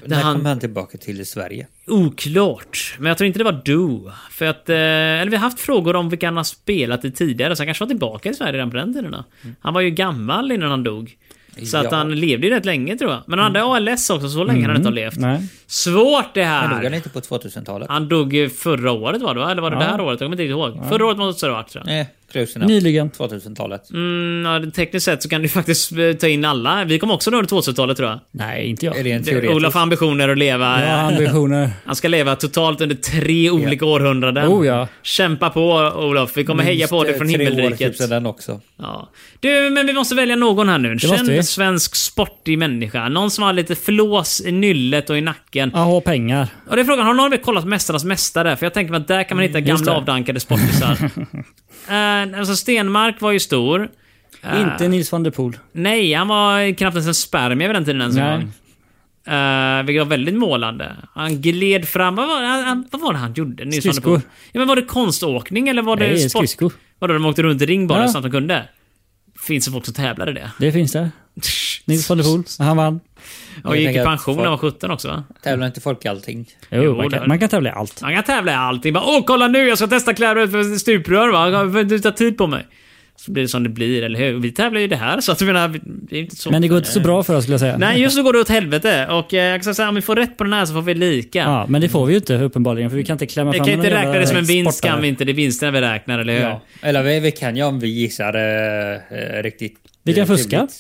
Speaker 1: Det
Speaker 2: När
Speaker 1: han-
Speaker 2: kommer han tillbaka till Sverige?
Speaker 1: Oklart. Men jag tror inte det var du. För att... Eh, eller vi har haft frågor om vilka han har spelat i tidigare, så han kanske var tillbaka i Sverige redan på den tiden. då. Han var ju gammal innan han dog. Så att
Speaker 2: Mm. Ja. Mm.
Speaker 1: han levde ju rätt länge tror jag. Men han hade ALS också, så länge han inte har levt.
Speaker 4: Nej.
Speaker 1: Svårt det
Speaker 2: Han dog han
Speaker 1: här!
Speaker 2: inte på 2000-talet?
Speaker 4: Ah.
Speaker 1: Han dog ju förra året var det va? Eller var det det här året? Jag kommer inte riktigt ihåg. Förra året måste det ha varit tror jag.
Speaker 2: Nej, Cruising
Speaker 4: Nyligen.
Speaker 2: 2000-talet.
Speaker 1: Mm, ja, tekniskt sett så kan du faktiskt eh, ta in alla. Vi kom också under 2000-talet tror jag.
Speaker 4: Nej, inte jag.
Speaker 2: Är det en
Speaker 1: Det- Olof
Speaker 2: teoretisk?
Speaker 1: har ambitioner att leva.
Speaker 4: Jag har ambitioner.
Speaker 1: Han ska leva totalt under tre olika århundraden.
Speaker 4: Oh, ja. eh,
Speaker 1: Kämpa på Olof. Vi kommer heja på dig från
Speaker 2: Tre år typ
Speaker 1: himmelriket.
Speaker 2: sedan också.
Speaker 1: Ja. Du, men vi måste välja någon här nu. En
Speaker 4: Det måste vi.
Speaker 1: känd svensk sportig människa. Någon som har lite flås i nyllet och i nacken.
Speaker 4: Jag har pengar.
Speaker 1: Och det är frågan, har någon av er kollat Mästarnas Mästare? För jag tänker mig att där kan man hitta
Speaker 4: Mm, just
Speaker 1: gamla
Speaker 4: det.
Speaker 1: avdankade sportisar. Eh, alltså Stenmark var ju stor. Eh, Ah.
Speaker 4: Inte Nils van der Poel.
Speaker 1: Nej, han var knappt ens en spermie vid den tiden ens en
Speaker 4: Nej.
Speaker 1: gång. Uh, vilket var väldigt målande. Han gled fram. Vad var, han- han, vad var det han gjorde? Nils van der Poel?
Speaker 4: Skridskor.
Speaker 1: Ja, men var det konståkning eller var det
Speaker 4: Nej,
Speaker 1: sport?
Speaker 4: skridskor.
Speaker 1: Vadå, de åkte runt i ring bara
Speaker 4: Ja.
Speaker 1: så snabbt de kunde? Finns det folk som tävlar i det?
Speaker 4: Det finns det. Nils von der Poel. Han vann.
Speaker 1: Och gick i
Speaker 2: tänker att
Speaker 1: pension när han var
Speaker 2: folk-
Speaker 1: 17 också va?
Speaker 2: Tävlar inte folk i allting?
Speaker 4: Jo, man,
Speaker 1: det-
Speaker 4: kan, man kan tävla i allt.
Speaker 1: Han kan tävla i allting. Bara, Åh, kolla nu! Jag ska testa kläder för stuprör va? Jag får inte ta tid på mig. Så blir det som det blir, eller hur? Vi tävlar ju i det här, så att jag menar, vi- det är inte så...
Speaker 4: Men det går inte så bra för oss skulle jag säga.
Speaker 1: Nej, just nu går det åt helvete. Och eh, jag kan säga, om vi får rätt på den här så får vi lika.
Speaker 4: Ja, alltså, men det får vi ju inte uppenbarligen för vi kan inte klämma
Speaker 1: Vi
Speaker 4: fram
Speaker 1: kan inte
Speaker 4: någon
Speaker 1: räkna
Speaker 4: jävla
Speaker 1: det som en vinst
Speaker 4: sportare.
Speaker 1: kan vi inte. Det är vinsterna vi räknar, eller hur?
Speaker 2: Ja. Eller vi, vi kan ju om vi gissar eh, eh, riktigt...
Speaker 4: Vi kan
Speaker 2: eh,
Speaker 4: fuska.
Speaker 2: turligt.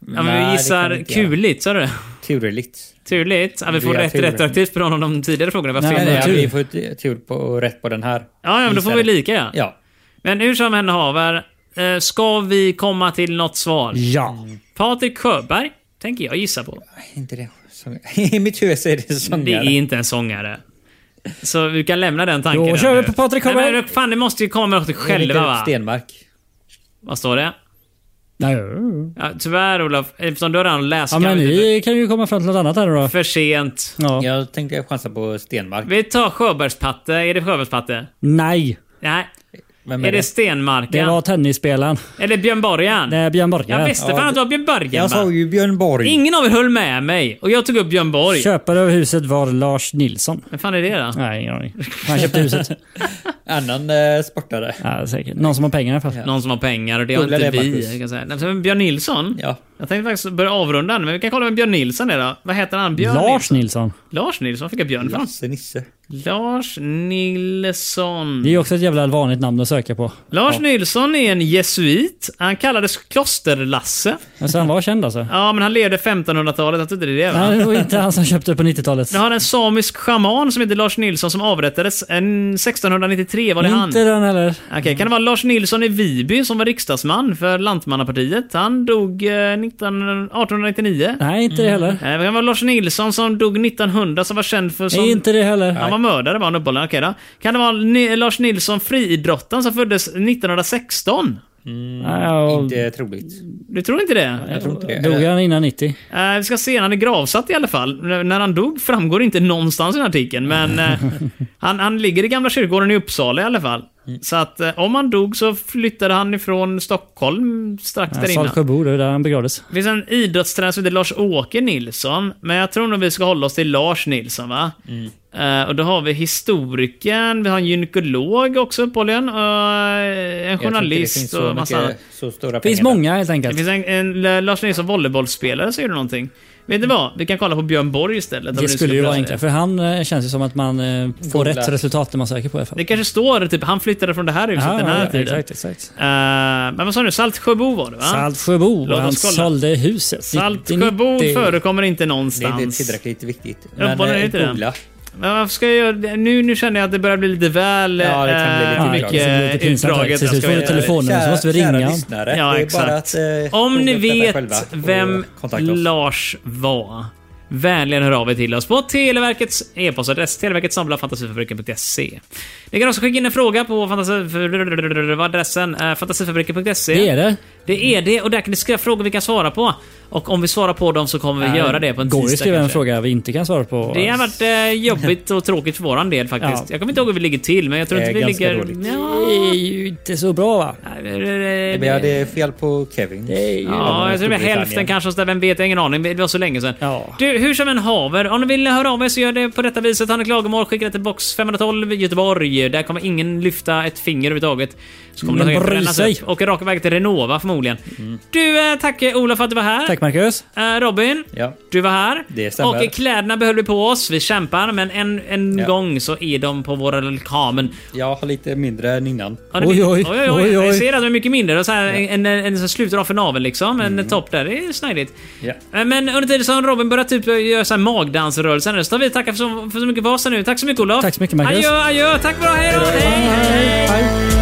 Speaker 1: Ja,
Speaker 2: Nej, det
Speaker 1: men
Speaker 2: kan
Speaker 1: vi gissar
Speaker 2: vi inte göra.
Speaker 1: kuligt, sa du det?
Speaker 2: Turligt.
Speaker 1: Turligt. Ja, vi får
Speaker 2: Via
Speaker 1: rätt
Speaker 2: tur.
Speaker 1: retroaktivt på någon av de tidigare frågorna.
Speaker 4: Nej,
Speaker 1: Nej,
Speaker 2: Nej,
Speaker 1: fel.
Speaker 2: nej,
Speaker 4: tur.
Speaker 2: vi får t- tur på, rätt på den här.
Speaker 1: Ja, ja, men då får
Speaker 2: Gissar
Speaker 1: vi
Speaker 2: det.
Speaker 1: lika ja.
Speaker 2: Ja.
Speaker 1: Men hur som än haver, eh, ska vi komma till något svar?
Speaker 4: Ja.
Speaker 1: Mm. Patrik Sjöberg tänker jag gissa på.
Speaker 2: Inte det. Sång... I mitt huvud så är det
Speaker 1: Det är
Speaker 2: sångare.
Speaker 1: inte en sångare. Så vi kan lämna den tanken.
Speaker 4: Då
Speaker 1: där
Speaker 4: kör vi
Speaker 1: nu.
Speaker 4: på Patrik
Speaker 1: Nej,
Speaker 4: Sjöberg.
Speaker 1: men Fan, det måste ju komma med något själva va?
Speaker 2: Stenmark.
Speaker 1: Vad står det?
Speaker 4: Nej.
Speaker 1: Ja, tyvärr Olof, eftersom du har redan läst
Speaker 4: Ja,
Speaker 1: kan
Speaker 4: men
Speaker 1: vi inte-
Speaker 4: vi kan ju komma fram till något annat här då.
Speaker 1: För sent.
Speaker 4: Ja.
Speaker 2: Jag tänkte jag chansar på Stenmark.
Speaker 1: Vi tar Sjöbergspatte. Är det Sjöbergspatte?
Speaker 4: Nej,
Speaker 1: Nej.
Speaker 2: Vem
Speaker 1: Är det
Speaker 4: det
Speaker 1: Stenmarken?
Speaker 4: var tennisspelaren.
Speaker 1: Eller Björn Borgen?
Speaker 4: Nej, Björn
Speaker 1: Jag
Speaker 4: Borgen.
Speaker 1: visste fan att det var Björn Borgen
Speaker 2: Jag
Speaker 1: va?
Speaker 2: sa ju Björn Borg.
Speaker 1: Ingen av er höll med mig och jag tog upp Björn Borg.
Speaker 4: Köpare av huset var Lars Nilsson.
Speaker 1: Vem fan är det då?
Speaker 4: Nej, ingen aning. Han köpte huset.
Speaker 2: Annan eh, sportare.
Speaker 4: Ja, säkert. Någon som har pengar i alla fall.
Speaker 1: Någon som har pengar och det har
Speaker 2: Googla
Speaker 1: inte
Speaker 2: det,
Speaker 1: vi.
Speaker 2: Marcus.
Speaker 1: Jag kan säga. Nej, men Björn Nilsson?
Speaker 2: Ja.
Speaker 1: Jag tänkte faktiskt börja avrunda nu, men vi kan kolla vem Björn Nilsson är då. Vad heter han? Björn
Speaker 4: Lars
Speaker 1: Nilsson?
Speaker 4: Nilsson.
Speaker 1: Lars Nilsson? Vad fick jag Björn från?
Speaker 2: Lasse Nisse.
Speaker 1: Lars Nilsson.
Speaker 4: Det är ju också ett jävla vanligt namn att söka på.
Speaker 1: Lars Nilsson är en jesuit. Han kallades Klosterlasse.
Speaker 4: Men så han var känd alltså.
Speaker 1: Ja, men han levde 1500-talet. Jag tror inte det är det va?
Speaker 4: Nej, det var inte han som köpte på 90-talet.
Speaker 1: Vi har en samisk schaman som heter Lars Nilsson som avrättades en 1693. Var det han?
Speaker 4: Inte den heller.
Speaker 1: Okej, kan det vara Lars Nilsson i Viby som var riksdagsman för Lantmannapartiet? Han dog eh, 19, 1899.
Speaker 4: Nej, inte det heller.
Speaker 1: Eh, Det kan vara Lars Nilsson som dog 1900 som var känd för... Som...
Speaker 4: Nej, inte det
Speaker 1: Han
Speaker 4: heller.
Speaker 1: var mördare var han uppehållande. Okej då. Kan det vara Ni- Lars Nilsson friidrottaren som föddes 1916?
Speaker 4: Nej, och
Speaker 2: Inte troligt.
Speaker 1: Du tror inte det?
Speaker 2: Jag tror inte det.
Speaker 4: dog
Speaker 2: Eller-
Speaker 4: han innan 90?
Speaker 1: Eh, vi ska se, han är gravsatt i alla fall. N- När han dog framgår inte någonstans i den artikeln, men eh, han, han ligger i gamla kyrkogården i Uppsala i alla fall.
Speaker 2: Mm.
Speaker 1: Så att eh, om han dog så flyttade han ifrån Stockholm strax där innan.
Speaker 4: Salsjöbo, det var där han begravdes.
Speaker 1: Det finns en idrottstränare som heter Lars-Åke Nilsson, men jag tror nog vi ska hålla oss till Lars Nilsson va?
Speaker 2: Mm.
Speaker 1: Eh, och då har vi historikern, vi har en gynekolog också uppenbarligen, uh, en
Speaker 2: Jag tror inte det
Speaker 1: journalist
Speaker 2: finns
Speaker 1: och
Speaker 2: så,
Speaker 1: massa annat.
Speaker 2: mycket, så stora
Speaker 4: Det finns
Speaker 2: pengar där.
Speaker 4: många helt
Speaker 1: Det
Speaker 4: enkelt.
Speaker 1: finns en, en L- Lars Nilsson volleybollspelare som gjorde någonting. Vet ni vad? Vi kan kolla på Björn Borg istället. om
Speaker 4: Mm. Det
Speaker 1: vi nu ska
Speaker 4: skulle ju vara
Speaker 1: prata-
Speaker 4: enklare, för han eh, känns ju som att man eh, får
Speaker 2: Googla.
Speaker 4: rätt resultat när man söker på i alla fall.
Speaker 1: Det kanske står typ, han flyttade från det här huset den här tiden.
Speaker 4: Ah, exakt, exakt.
Speaker 1: Eh, men vad sa du? Saltsjöbo var det va?
Speaker 4: Saltsjöbo,
Speaker 1: Låt oss
Speaker 4: han
Speaker 1: kolla.
Speaker 4: sålde huset.
Speaker 1: Saltsjöbo
Speaker 4: 90.
Speaker 1: förekommer inte
Speaker 2: Det är inte
Speaker 1: någonstans.
Speaker 2: tillräckligt viktigt.
Speaker 1: Uppehåller
Speaker 2: eh,
Speaker 1: inte den.
Speaker 2: googla.
Speaker 1: Men varför ska jag göra det? Nu, nu känner jag att det börjar bli lite väl...
Speaker 2: Ja, det kan bli
Speaker 1: eh,
Speaker 2: lite utdraget.
Speaker 1: mycket
Speaker 4: Det blir lite pinsamt här.
Speaker 1: utdraget.
Speaker 4: Till
Speaker 1: Jag
Speaker 4: slut
Speaker 1: ska
Speaker 4: får vi
Speaker 1: vara-
Speaker 4: telefon. Telefonnummer, så måste vi
Speaker 2: Eh, kära
Speaker 4: ringa.
Speaker 2: lyssnare,
Speaker 1: Ja,
Speaker 2: det är bara
Speaker 1: exakt.
Speaker 2: att, eh,
Speaker 1: Om ni
Speaker 2: googla detta själva
Speaker 1: vet
Speaker 2: och
Speaker 1: vem
Speaker 2: kontakta oss.
Speaker 1: Lars var, vänligen hör av er till oss på Televerkets e-postadress, televerket fantasifabriken.se. Ni kan också skicka in en fråga på fantasif- adressen eh, fantasifabriken.se.
Speaker 4: Det är det.
Speaker 1: Det är det, och där kan ni skriva frågor vi kan svara på. Och om vi svarar på dem så kommer vi göra det på en
Speaker 4: Går det
Speaker 1: tisdag
Speaker 4: att skriva Eh, en
Speaker 1: kanske.
Speaker 4: fråga vi inte kan svara på?
Speaker 1: Det har varit eh, jobbigt och tråkigt för våran del faktiskt.
Speaker 4: Ja.
Speaker 1: Jag kommer inte ihåg hur vi ligger till, men jag tror
Speaker 2: Det
Speaker 1: inte
Speaker 2: är
Speaker 1: vi
Speaker 2: ganska
Speaker 1: ligger...
Speaker 2: dåligt.
Speaker 1: Ja,
Speaker 4: Det är ju inte så bra va?
Speaker 1: nej, eh,
Speaker 2: Vi hade fel på Kevin.
Speaker 4: Det är ju...
Speaker 1: Ja, jag tror det är
Speaker 2: Storbritannien.
Speaker 1: hälften kanske. så där, Vem vet? Jag har ingen aning. Det var så länge sedan.
Speaker 4: Ja.
Speaker 1: Du, hur som en haver. Om ni vill höra av er så gör det på detta viset. Har ni klagomål, skicka det till box 512 Göteborg. Där kommer ingen lyfta ett finger överhuvudtaget. Så kommer det
Speaker 4: Ingen bryr
Speaker 1: brännas
Speaker 4: sig. Mm.
Speaker 1: upp. Och raka vägen till Renova förmodligen. Du, eh, tack eh, Ola för att du var här.
Speaker 4: Tack Marcus.
Speaker 1: Eh, Robin,
Speaker 2: Ja.
Speaker 1: du var här.
Speaker 2: Det stämmer.
Speaker 1: Och eh, kläderna behöll vi på oss. Vi kämpar, men en, en
Speaker 2: Ja.
Speaker 1: gång så är de på våra lekamen.
Speaker 2: Jag har lite mindre än innan.
Speaker 1: Ja, det
Speaker 4: Oj,
Speaker 1: blir-
Speaker 4: oj,
Speaker 1: oj,
Speaker 4: oj,
Speaker 1: Jag
Speaker 4: oj.
Speaker 1: ser att de är mycket mindre. Och så här, En, en, en som sluter av för naveln liksom. En
Speaker 4: Mm.
Speaker 1: topp där. Det är snajdigt.
Speaker 2: Ja.
Speaker 1: Eh, Men under tiden som Robin börjar typ göra så här magdansrörelser nu, så tar vi och tackar för så, för så mycket för oss här nu. Tack så mycket Olof.
Speaker 4: Tack så mycket, Marcus.
Speaker 1: Adjö, adjö. Tack bra. Hej då. Hej, hej.
Speaker 4: Hej.